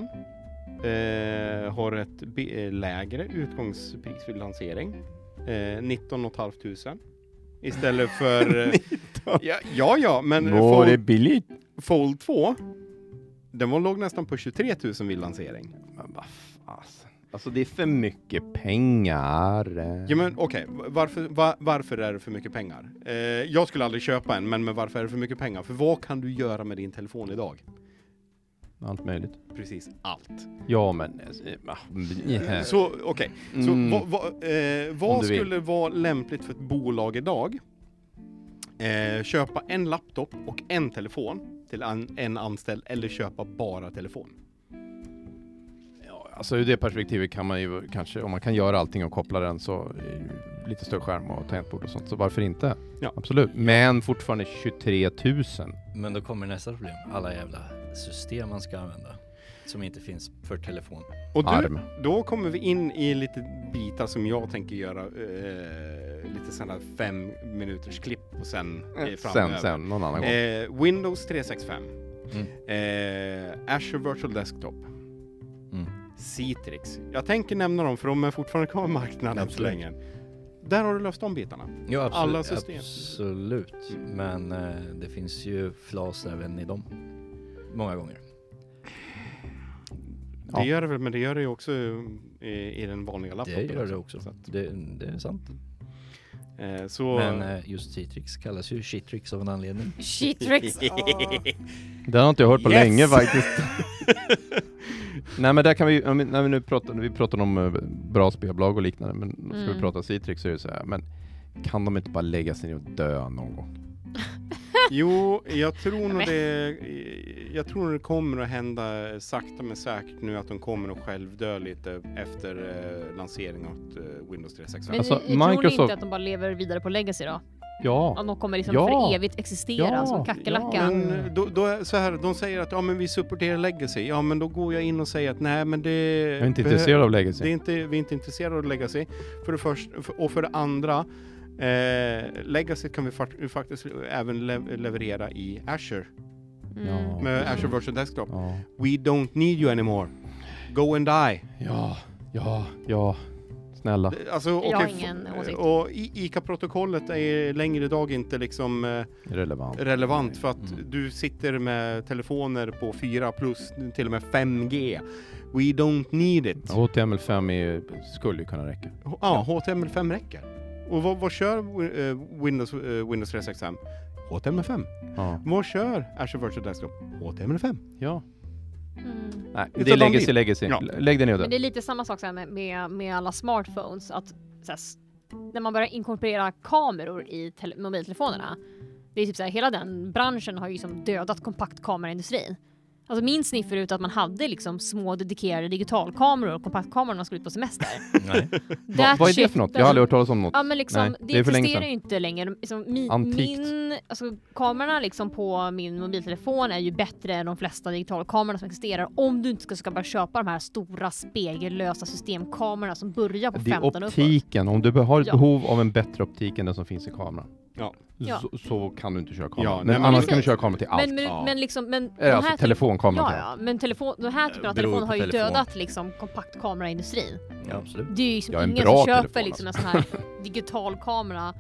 eh, har ett bi- eh, lägre utgångspris vid lansering. Eh, 19 500 istället för... Eh, ja, ja, ja, men
Nå,
Fold,
billigt.
Fold 2 den var låg nästan på 23 000 vid lansering.
Men vad fasen. Alltså det är för mycket pengar. eh,
Ja men okej, v- varför, va- varför är det för mycket pengar? Eh, jag skulle aldrig köpa en, men, men varför är det för mycket pengar? För vad kan du göra med din telefon idag?
Allt möjligt.
precis allt.
Ja men... eh, ah, yeah.
Så okej, så
Mm.
vad, vad, eh,
Om
vad
du vill.
skulle vara lämpligt för ett bolag idag? Eh, köpa en laptop och en telefon till en, en anställd eller köpa bara telefon?
Ja, Alltså ur det perspektivet kan man ju kanske, om man kan göra allting och koppla den så eh, lite större skärm och tangentbord och sånt, så varför inte?
Ja.
Absolut. Men fortfarande 23 000.
Men då kommer nästa problem, alla jävla system man ska använda. Som inte finns för telefon.
Och du,
Arm.
då kommer vi in i lite bitar som jag tänker göra eh, lite sådana fem minuters klipp och sen eh, framöver.
Sen, sen, någon annan gång.
Eh, Windows 365.
Mm.
Eh, Azure Virtual Desktop.
Mm.
Citrix. Jag tänker nämna dem för de är fortfarande kvar på marknaden än så
Absolut.
länge. Där har du löst de bitarna.
Jo, absolut,
Alla system.
Absolut. Men eh, det finns ju flas även i dem. Många gånger.
Det
Ja.
gör det väl, men det gör det ju också eh, i, i den vanliga laptopen.
det gör det också.
Så, att,
Det, det är sant.
eh, så
Men eh, just Citrix kallas ju Citrix av en anledning.
Shitrix! åh.
Det har inte jag hört på
Yes!
länge faktiskt. Nej men där kan vi, om vi- när vi nu pratar, vi pratar om eh, bra spelbolag och liknande, men ska vi
Mm.
prata Citrix så är det så här, men kan de inte bara lägga sig ner och dö någon gång?
jo, jag tror nog
men-
det. Jag tror nog det kommer att hända eh, sakta men säkert nu att de kommer att självdö lite efter eh, lanseringen av eh, Windows 365.
Men
Alltså,
ni, tror ni
Microsoft-
inte att de bara lever vidare på legacy då?
Ja,
Att de kommer liksom
Ja.
för evigt existera
Ja.
som kackerlacka?
Ja,
Men eh, då, då är så här, de säger att ja, men vi supporterar legacy. Ja, men då går jag in och säger att nej, men det.
jag är inte intresserad av
Det är
legacy.
inte, vi är inte intresserade av legacy. För det första, och för det andra, eh, legacy kan vi fakt- faktiskt även le- leverera i Azure.
Mm.
Ja.
Med
precis.
Azure Virtual Desktop.
Ja,
We don't need you anymore. Go and die.
ja, ja, ja. snälla.
Det- Alltså,
Jag har
okej, f-
ingen åsikt.
Och I- ICA-protokollet är längre idag inte liksom eh,
Relevant.
relevant för att
Mm.
du sitter med telefoner på 4 plus till och med 5G. We don't need it.
HTML5 är, skulle ju kunna räcka.
Ja, HTML5 räcker. Och vad, vad kör eh, Windows, eh, Windows 365? HTML5.
Ja.
Vad kör Azure Virtual Desktop? HTML5.
ja.
Mm.
Nej,
Utan
det är
de
legacy,
vill-
legacy.
Ja.
Lägg det ner och dö.
Men det är lite samma sak så här med, med, med alla smartphones. Att, så här, s- när man börjar inkorporera kameror i tele- mobiltelefonerna. Det är typ så här, hela den branschen har ju liksom dödat kompaktkameraindustrin. Alltså minns ni förut att man hade liksom små dedikerade digitalkameror och kompaktkameror när man skulle ut på semester?
Nej.
Va,
That
vad är det
shit
för något? Jag har
doesn't-
aldrig hört talas om något.
Ja men liksom,
Nej,
det,
det är för länge
existerar
sedan.
ju inte längre. Liksom, mi,
Antikt.
min, alltså, kamerorna liksom på min mobiltelefon är ju bättre än de flesta digitalkamerorna som existerar. Om du inte ska, ska bara köpa de här stora spegellösa systemkamerorna som börjar på
Det är
15 och uppåt.
optiken. Om du be- har ett
Ja.
behov av en bättre optik än den som finns i kameran.
Ja.
Ja.
Så, så kan du inte köra kameran.
Ja,
men,
nej, men
annars
precis.
kan du köra kameran till allt.
Men, men, men liksom, men de
Eh, alltså
här typ-
telefonkameran.
Ja,
till allt.
ja, men telefon, den här typen av
Eh, beror
telefon
på
har ju
telefon.
dödat liksom kompaktkameraindustrin.
Ja, absolut.
Det är ju liksom
Ja, en
ingen
bra
som köper
telefon, alltså.
liksom en sån här digital kamera.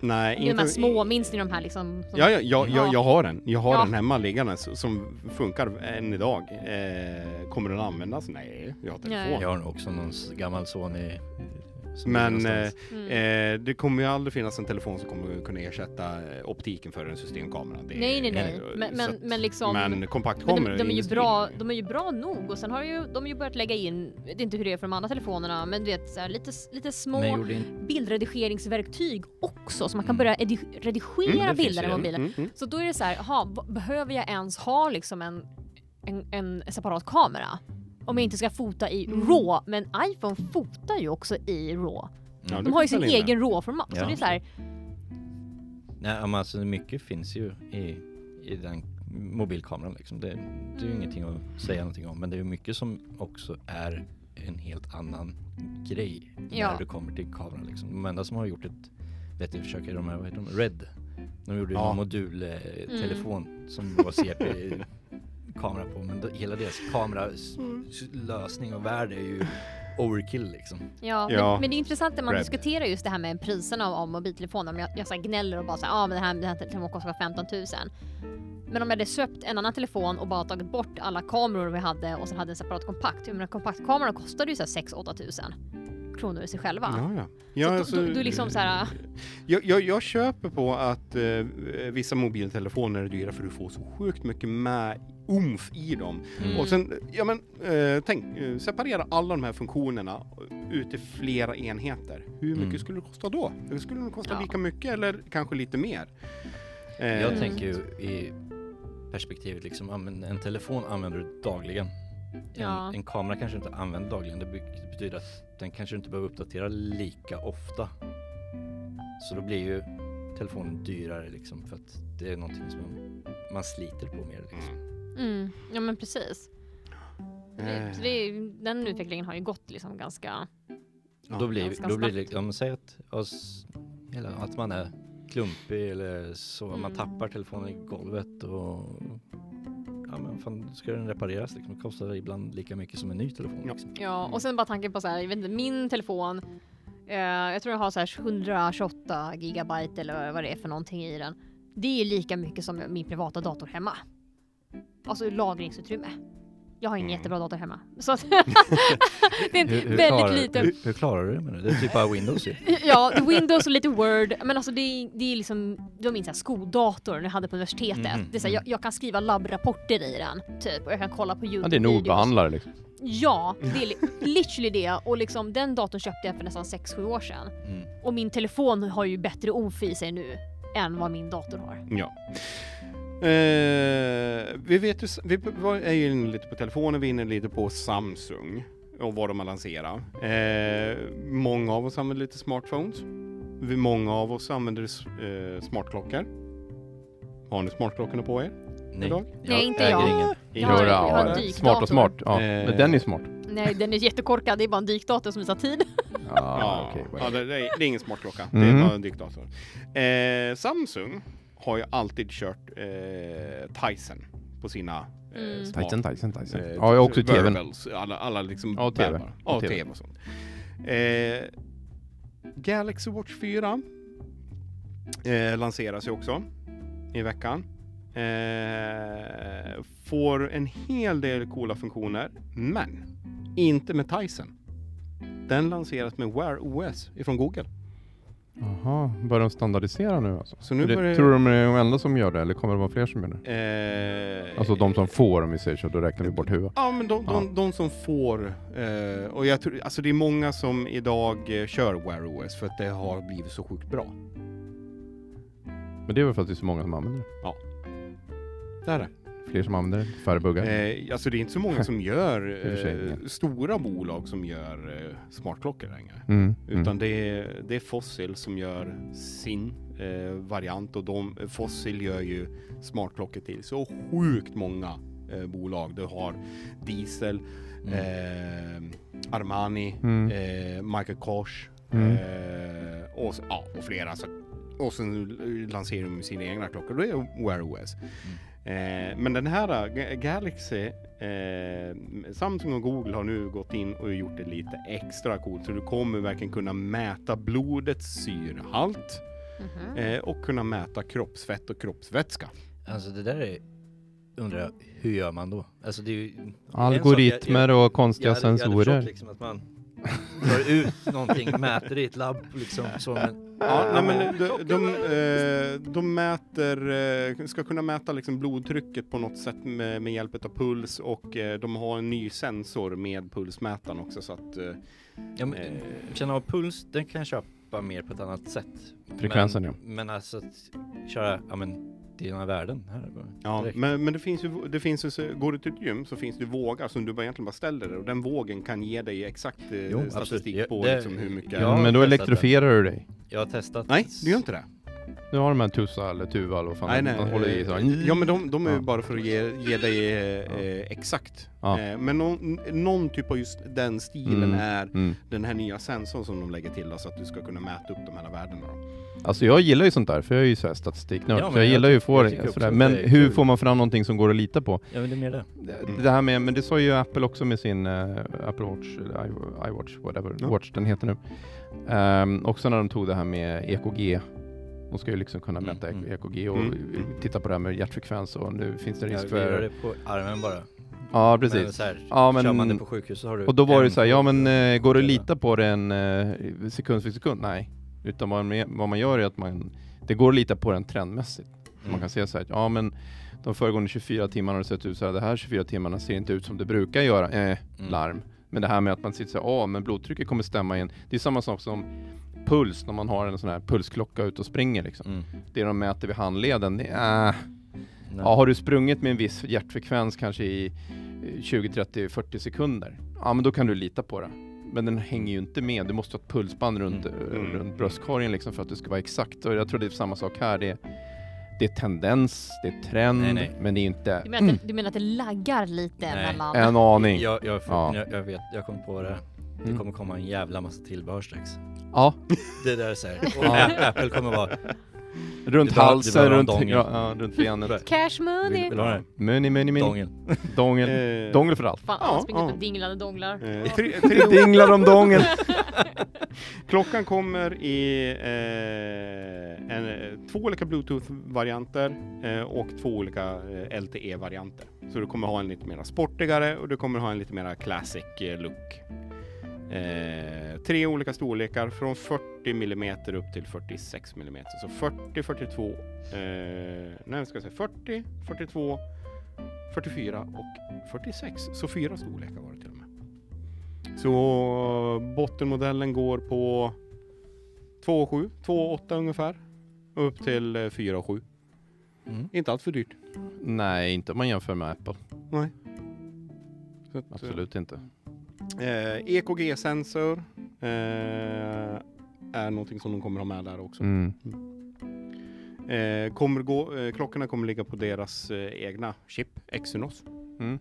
Nej,
De här små, minns ni de här liksom? som-
Ja, ja, jag, jag,
Ja.
jag har den. Jag har
Ja.
den hemma liggandes som funkar än idag. Eh, kommer den användas? Nej, jag har telefon.
Nej.
Jag har också någon s- gammal son i... som ligger
Men eh,
någonstans.
Mm.
eh, det kommer ju aldrig finnas en telefon som kommer kunna ersätta eh, optiken för en systemkamera. Det är-
Nej, nej, nej.
eh,
Men,
så
men,
att-
men liksom...
men
Men
kompaktkameror
de, de, är ju
industrin-
bra, de är ju bra nog och sen har ju, de har ju börjat lägga in, jag vet inte hur det är för de andra telefonerna, men du vet så här, lite, lite små
Men gjorde inte...
bildredigeringsverktyg också så man kan
Mm.
börja edi- redigera
Mm, det finns
bilder i
ju det.
mobilen.
Mm, mm.
Så då är det så här, aha, v- behöver jag ens ha liksom en, en, en separat kamera? Om jag inte ska fota i
Mm.
RAW, men iPhone fotar ju också i RAW.
Ja, du
De har
kan
ju sin
ställa in den.
egen RAW-format. Så
Ja.
det är så här,
Nej, men alltså mycket finns ju i, i den mobilkameran liksom. Det, det är ju ingenting att säga någonting om. Men det är ju mycket som också är en helt annan grej
Ja.
när du kommer till kameran liksom. De enda som har gjort ett vettigt försök är de här, vad heter de, Red. De gjorde ju
Ja.
någon modultelefon som var CP kamera på. Men då, hela deras kameralösning och värld är ju overkill liksom.
Ja,
Ja.
Men, men det är intressant när man
Red.
diskuterar just det här med priserna av, av mobiltelefoner. Om jag, jag så här gnäller och bara säger ah, men den här, den här telefonen kostar 15 000. Men om jag hade köpt en annan telefon och bara tagit bort alla kameror vi hade och sen hade en separat kompakt. Jag menar kompaktkamerorna kostade ju så här 6 8 000 kronor i sig själva.
Ja, ja.
så
Ja,
du,
alltså,
du, du är liksom så här,
jag, jag, jag köper på att eh, vissa mobiltelefoner är dyra för du får så sjukt mycket med umf i dem.
Mm.
Och sen, ja men eh, tänk, eh, separera alla de här funktionerna ut i flera enheter. Hur mycket
Mm.
skulle det kosta då? Det skulle nog kosta
Ja.
lika mycket eller kanske lite mer. Eh,
Jag tänker ju i perspektivet liksom, ja, men en telefon använder du dagligen. En,
Ja.
en kamera kanske du inte använder dagligen. Det be- det betyder att den kanske du inte behöver uppdatera lika ofta. Så då blir ju telefonen dyrare liksom för att det är någonting som man sliter på mer. Liksom.
mm, ja men precis. Det, så
eh,
det, är- den utvecklingen har ju gått liksom ganska,
Ja,
då blir,
ganska
då blir det,
snabbt.
liksom- ja, men säg att, oss, eller att man är klumpig eller så, man
Mm.
tappar telefonen i golvet och ja, men, fan, ska den repareras liksom? Det kostar ibland lika mycket som en ny telefon.
Ja.
Liksom.
Ja,
Mm.
och sen bara tanken på så här, jag vet inte, min telefon. Eh, jag tror jag har så här 128 gigabyte eller vad det är för någonting i den. Det är lika mycket som min privata dator hemma. Alltså lagringsutrymme. Jag har ingen
Mm.
jättebra dator hemma. Så att det är en
klarar,
väldigt liten.
Hur, hur klarar du det med det? Det är typ bara Windows ju.
Ja, Windows och lite Word. Men alltså det är, det är liksom, det var min så här skoldator när jag hade på universitetet.
Mhm,
Mm,
Det är så här, jag, jag kan skriva labbrapporter i den typ och jag kan kolla på Youtube.
Ja, det är en ordbehandlare liksom.
Ja, det är li- literally det. Och liksom, den datorn köpte jag för nästan 6-7 år sedan.
Mm.
Och min telefon har ju bättre ofi i sig nu än vad min dator har.
Ja. Eh, vi vet ju, vi var- är ju inne lite på telefonen, vi är inne lite på Samsung och vad de har lanserat. Eh, många av oss använder lite smartphones. Vi, många av oss använder s- eh, smartklockor. Har ni smartklockorna på er?
Nej.
Idag?
Nej, inte
äger
jag.
Ingen.
Jag har-
Jodå,
jag har
ja.
en dykdator.
smart och smart. Ja,
Eh.
men den är smart.
Nej, den är jättekorkad. Det är bara en dykdator som visar tid.
Ja,
Ja,
Ah, okej.
ja det, det, är, det är ingen smartklocka. Det
Mm.
är bara en dykdator. Eh, Samsung har ju alltid kört eh, Tyson på sina eh,
Mm.
smart-
Titan, Titan, Titan.
eh,
Ja, jag har också tvn.
wearables, Alla, alla liksom
Ja, TV.
bärbara.
Ja,
Ja,
TV.
TV och sånt. Eh, Galaxy Watch 4 eh, lanseras ju också i veckan. Eh, får en hel del coola funktioner, men inte med Tyson. Den lanseras med Wear OS ifrån Google.
Jaha, börjar de standardisera nu alltså?
Så nu
Är det-
börjar...
Tror du de är de enda som gör det eller kommer det vara fler som gör det?
eh,
Alltså de som får om vi säger så, då räknar vi bort huvudet.
Ja, men de, de,
Ja.
de som får, eh, och jag tror, alltså det är många som idag eh, kör Wear OS för att det har blivit så sjukt bra.
Men det är väl för att det är så många som använder det.
Det är det.
Fler som använder det, färre buggar.
Eh, alltså det är inte så många som gör,
I och för sig,
eh, stora bolag som gör eh, smartklockor längre.
Mm,
Utan
mm.
det, är, det är Fossil som gör sin eh, variant och de, Fossil gör ju smartklockor till så sjukt många eh, bolag. Du har Diesel, eh, Armani,
Mm.
eh, Michael Kors
Mm.
eh, och, s- ja, och flera. Så, och sen l- lanserar de sina egna klockor. Det är Wear OS. Eh, men den här eh, Ga- Galaxy, eh, Samsung och Google har nu gått in och gjort det lite extra coolt. Så du kommer verkligen kunna mäta blodets syrehalt eh, och kunna mäta kroppsfett och kroppsvätska.
Alltså det där är, undrar jag, hur gör man då? Alltså det är ju... en sak jag-
Algoritmer och konstiga
jag hade, jag hade
sensorer.
förstått liksom att man tar ut någonting, mäter i ett labb liksom så men...
Ja, nej, men de, de, eh, de mäter, eh, ska kunna mäta liksom blodtrycket på något sätt med, med hjälp av puls och eh, de har en ny sensor med pulsmätaren också så att eh,
Ja, men
eh,
känna av puls, den kan jag köpa mer på ett annat sätt.
Frekvensen,
men, ja. Men alltså att köra, ja men dina värden här bara.
ja,
direkt.
men, men det finns ju, det finns ju, så- går du till ett gym så finns det ju vågar som du bara egentligen bara ställer dig och den vågen kan ge dig exakt eh,
Jo, absolut.
statistik
Ja,
på
det-
liksom, hur mycket.
Ja,
men då
jag testat
elektrifierar du dig.
Jag har testat.
Nej, du gör inte det.
Du har de här tussa eller tuval och fan,
Nej,
de
nej.
håller i så.
Ja, men de, de är ju
Ja.
bara för att ge, ge dig eh, eh, exakt.
Ja.
Eh, men någon, någon typ av just den stilen
Mm.
är
Mm.
den här nya sensorn som de lägger till då, så att du ska kunna mäta upp de här värdena. Då.
Alltså jag gillar ju sånt där, för jag är ju såhär statistiknörd,
Ja,
så
men
jag,
jag
gillar ju att få
jag
det.
tycker också
sådär.
att
Men
det är
hur
kul.
får man fram någonting som går att lita på?
Ja men det är mer det.
Mm.
Det här med, men det sa ju Apple också med sin eh, Apple Watch, eller i- iWatch, whatever,
Ja.
Watch den heter nu. Ehm, också när de tog det här med EKG. De ska ju liksom kunna
Mm,
mäta
mm.
EKG och
Mm.
eh, titta på det här med hjärtfrekvens och nu finns det
Jag
risk
gör
för...
det på armen bara.
Ja,
Men
precis.
så här,
Ja,
Kör man det
men,
på sjukhus så har du
och då var det
en
så här, ja men eh, går det att
eller?
lita på den eh, sekund för sekund? Nej. Utan vad, man- vad man gör är att man, det går att lita på den trendmässigt.
Mm.
Man kan säga så här, att, ja men de föregående 24 timmarna har det sett ut så här, det här 24 timmarna ser inte ut som det brukar göra, eh,
Mm.
larm. Men det här med att man sitter så här, ja men blodtrycket kommer stämma in. Det är samma sak som puls när man har en sån här pulsklocka ute och springer liksom.
Mm.
Det de mäter vid handleden, det är,
Nej.
ja har du sprungit med en viss hjärtfrekvens kanske i eh, 20, 30, 40 sekunder? Ja men då kan du lita på det. Men den hänger ju inte med, du måste ha ett pulsband runt, eh,
Mm.
runt bröstkorgen liksom för att det ska vara exakt. Och jag tror det är samma sak här. Det är, det är tendens, det är trend,
Nej, nej.
men det är inte
Du menar, att, det- du menar att det laggar lite
Nej.
mellan...
en aning. Ja,
Jag, jag, får,
Ja.
jag, jag vet, jag kom på det. här.
Mm.
Det kommer komma en jävla massa tillbehör strax.
ja.
Det där är så här. Och
Ja.
Apple kommer vara
Runt
Vi behöver- vi
halsen,
behöver ha en
runt,
dongel.
ja, ja, runt benet.
Cash money!
Vill,
Mm.
vill du ha den?
Muni, muni, muni.
Dongel.
Dongel.
Eh,
Dongel för allt.
Fan,
Ja,
han springer ut
ja.
med dinglande donglar.
eh,
Ja.
tre, tre,
Dinglar om dongel.
klockan kommer i eh, en, eh, två olika Bluetooth-varianter eh, och två olika eh, LTE-varianter. Så du kommer ha en lite mer sportigare och du kommer ha en lite mer classic eh, look. Eh, tre olika storlekar från 40 mm upp till 46 mm. Så 40, 42, eh, nej, ska jag säga 40, 42, 44 och 46. Så fyra storlekar var det till och med. Så bottenmodellen går på 2,7, 2,8 ungefär. Upp till eh, 4,7.
Mm.
Inte allt för dyrt.
Nej, inte om man jämför med Apple.
Så att, eh,
Absolut inte.
Eh, EKG-sensor eh, är någonting som de kommer ha med där också.
Mm.
Eh, kommer gå, eh, klockorna kommer ligga på deras eh, egna chip, Exynos
Mm.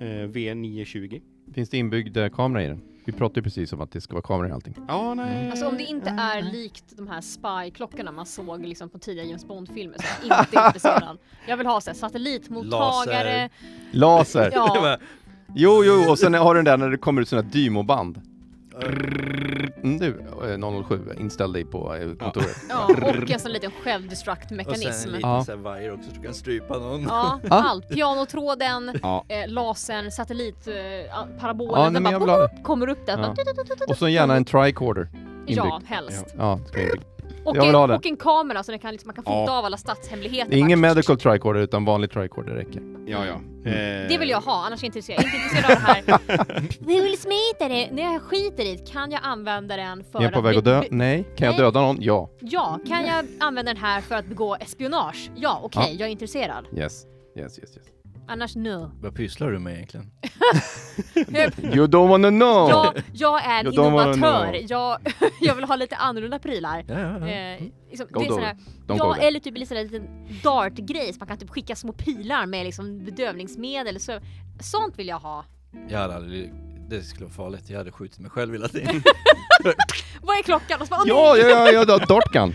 eh, V920.
Finns det inbyggd eh, kamera i den? Vi pratade ju precis om att det ska vara kamera i allting.
Ja, nej.
Mm.
Alltså om det inte är likt de här spy-klockorna man såg liksom på tidiga James Bond-filmer så är jag inte intresserad. Jag vill ha så här, satellitmottagare,
Laser!
Ja.
Det var-
Jo, jo, och sen har du den där när det kommer ut sådana här dymoband. Mm, du, eh, 007, inställ dig på eh, kontoret.
ja, och en sån liten
Och sen
självdestruct-mekanism.
en liten
Ja.
så här vajer också så du kan strypa någon.
Ja,
Ah.
allt. Pianotråden,
Ja.
eh, lasern, satellit, eh,
Ja,
parabolen.
nej,
den
men
bara
jag vill ha
boop, kommer upp där.
Ja.
Bara, tut, tut, tut, tut.
Och så gärna en tricorder.
Ja,
inbyggd.
helst.
Ja, det ska vara inbyggt.
Och,
Jag vill
en,
ha det.
och en kamera så den kan, liksom, man kan fota
Ja.
av alla statshemligheter.
Det är ingen
Bara-
medical tricorder utan vanlig tricorder räcker.
ja, ja.
Mm.
Eh,
Det vill jag ha, annars är jag inte intresserad. Jag är inte intresserad av det här. Will Smith är det. När jag skiter i det, kan jag använda den för
Är jag på väg
be-
att dö?
be-
Nej. Kan jag
Nej.
döda någon? Ja.
Ja, kan jag använda den här för att begå espionage? Ja, okej,
Ja.
jag är intresserad.
Yes. Yes, yes, yes.
Annars no.
Vad pysslar du med egentligen?
You don't wanna know!
Jag, jag är en
Ja, de var
innovatör.
nog-
Jag, jag vill ha lite annorlunda prylar.
Ja, ja, ja.
Eh, liksom,
Go
det är
dog.
sådär,
Don't go
ja,
there.
eller typ lite sådär liten dartgrej så man kan typ skicka små pilar med liksom bedövningsmedel. Så, sånt vill jag ha.
Jag hade aldrig, det skulle vara farligt. Jag hade skjutit mig själv hela tiden.
Vad är klockan? Och så bara, åh,
Ja, ja, ja, ja, ja dartgun!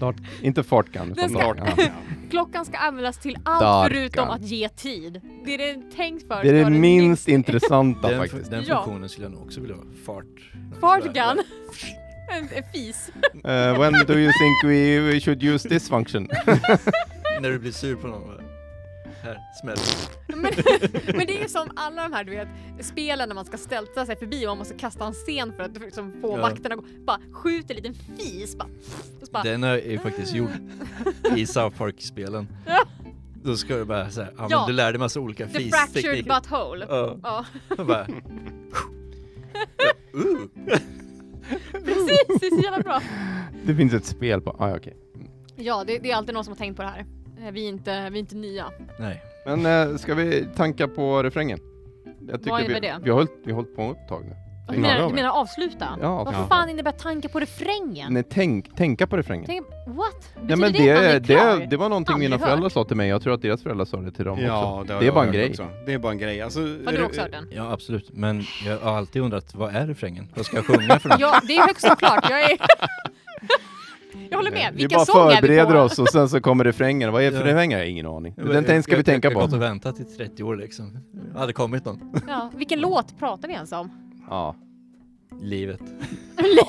Dart, inte fartgun. utan
Den ska-
dartgun.
Ja.
nej, klockan ska användas till allt
Darkan.
förutom att ge tid. Det är det tänkt för.
Det är
ska
det
vara
minst intressanta
Den,
faktiskt.
den
Ja.
funktionen skulle jag nog också vilja ha. Fart.
Fartgun. En, en fis.
Eh, when do you think we, we should use this function?
När du blir sur på någon. bara, Här, smäll.
Men, men det är ju som alla de här du vet, spelen när man ska ställa sig förbi och man måste kasta en sten för att liksom, få
Ja.
vakterna att gå. Bara skjut en liten fis. Bara, och så bara,
Den är ju faktiskt gjord i South Park-spelen. Då ska du bara säga, ja men
Ja.
du lärde dig massa olika
the fractured
fistekniker.
butthole.
Ja,
Ja,
och bara... Uh,
precis. Det är så jävla bra.
det finns ett spel på... Ah, ja, okej.
Ja, det, det är alltid någon som har tänkt på det här. Eh, Vi är inte, vi är inte nya.
nej.
Men eh, ska vi tanka på refrängen? Jag tycker
innebär
vi,
det?
Vi har, hållit, vi har hållit på ett tag nu.
Du menar, du menar avsluta?
Ja,
Vad
avsluta.
fan innebär tanke på refrängen?
Nej, tänk, tänka på refrängen.
Tänk, what? Betyder
Ja, men
det, att han är
det,
klar?
det, det var någonting
Aldrig
mina
hört.
föräldrar sa till mig. Jag tror att deras föräldrar sa det till dem
Ja,
också.
har
Det är
jag
bara en
hört
grej.
också. Det är bara en grej. Alltså,
Har du också hört den?
Ja absolut, men jag har alltid undrat, vad är refrängen? Vad ska jag sjunga för något?
Ja, det är högst oklart. Jag är... Jag håller med.
Vi
Vilka
bara
sång är vi
förbereder
på?
oss och sen så kommer refrängen. Vad är för
Ja.
refrängen? Jag har ingen aning.
Ja,
Den
men jag-
tänk- ska vi
jag-
tänka
Jag har gått
på.
och väntat i 30 år liksom. Det hade kommit någon.
Ja, vilken låt pratar vi ens om?
Ja.
Livet.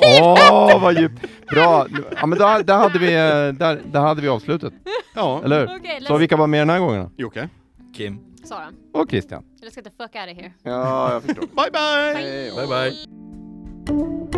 Åh, vad djupt! Bra! Ja, men där, där, hade vi, eh, där, där hade vi avslutet,
Ja,
eller hur?
Okej,
Så
okay,
vilka var med den här gången då?
Jocke.
Kim.
Sara.
Och Christian.
Let's get the fuck out of here.
Ja, jag förstår.
Bye bye!
Hej.
Bye bye.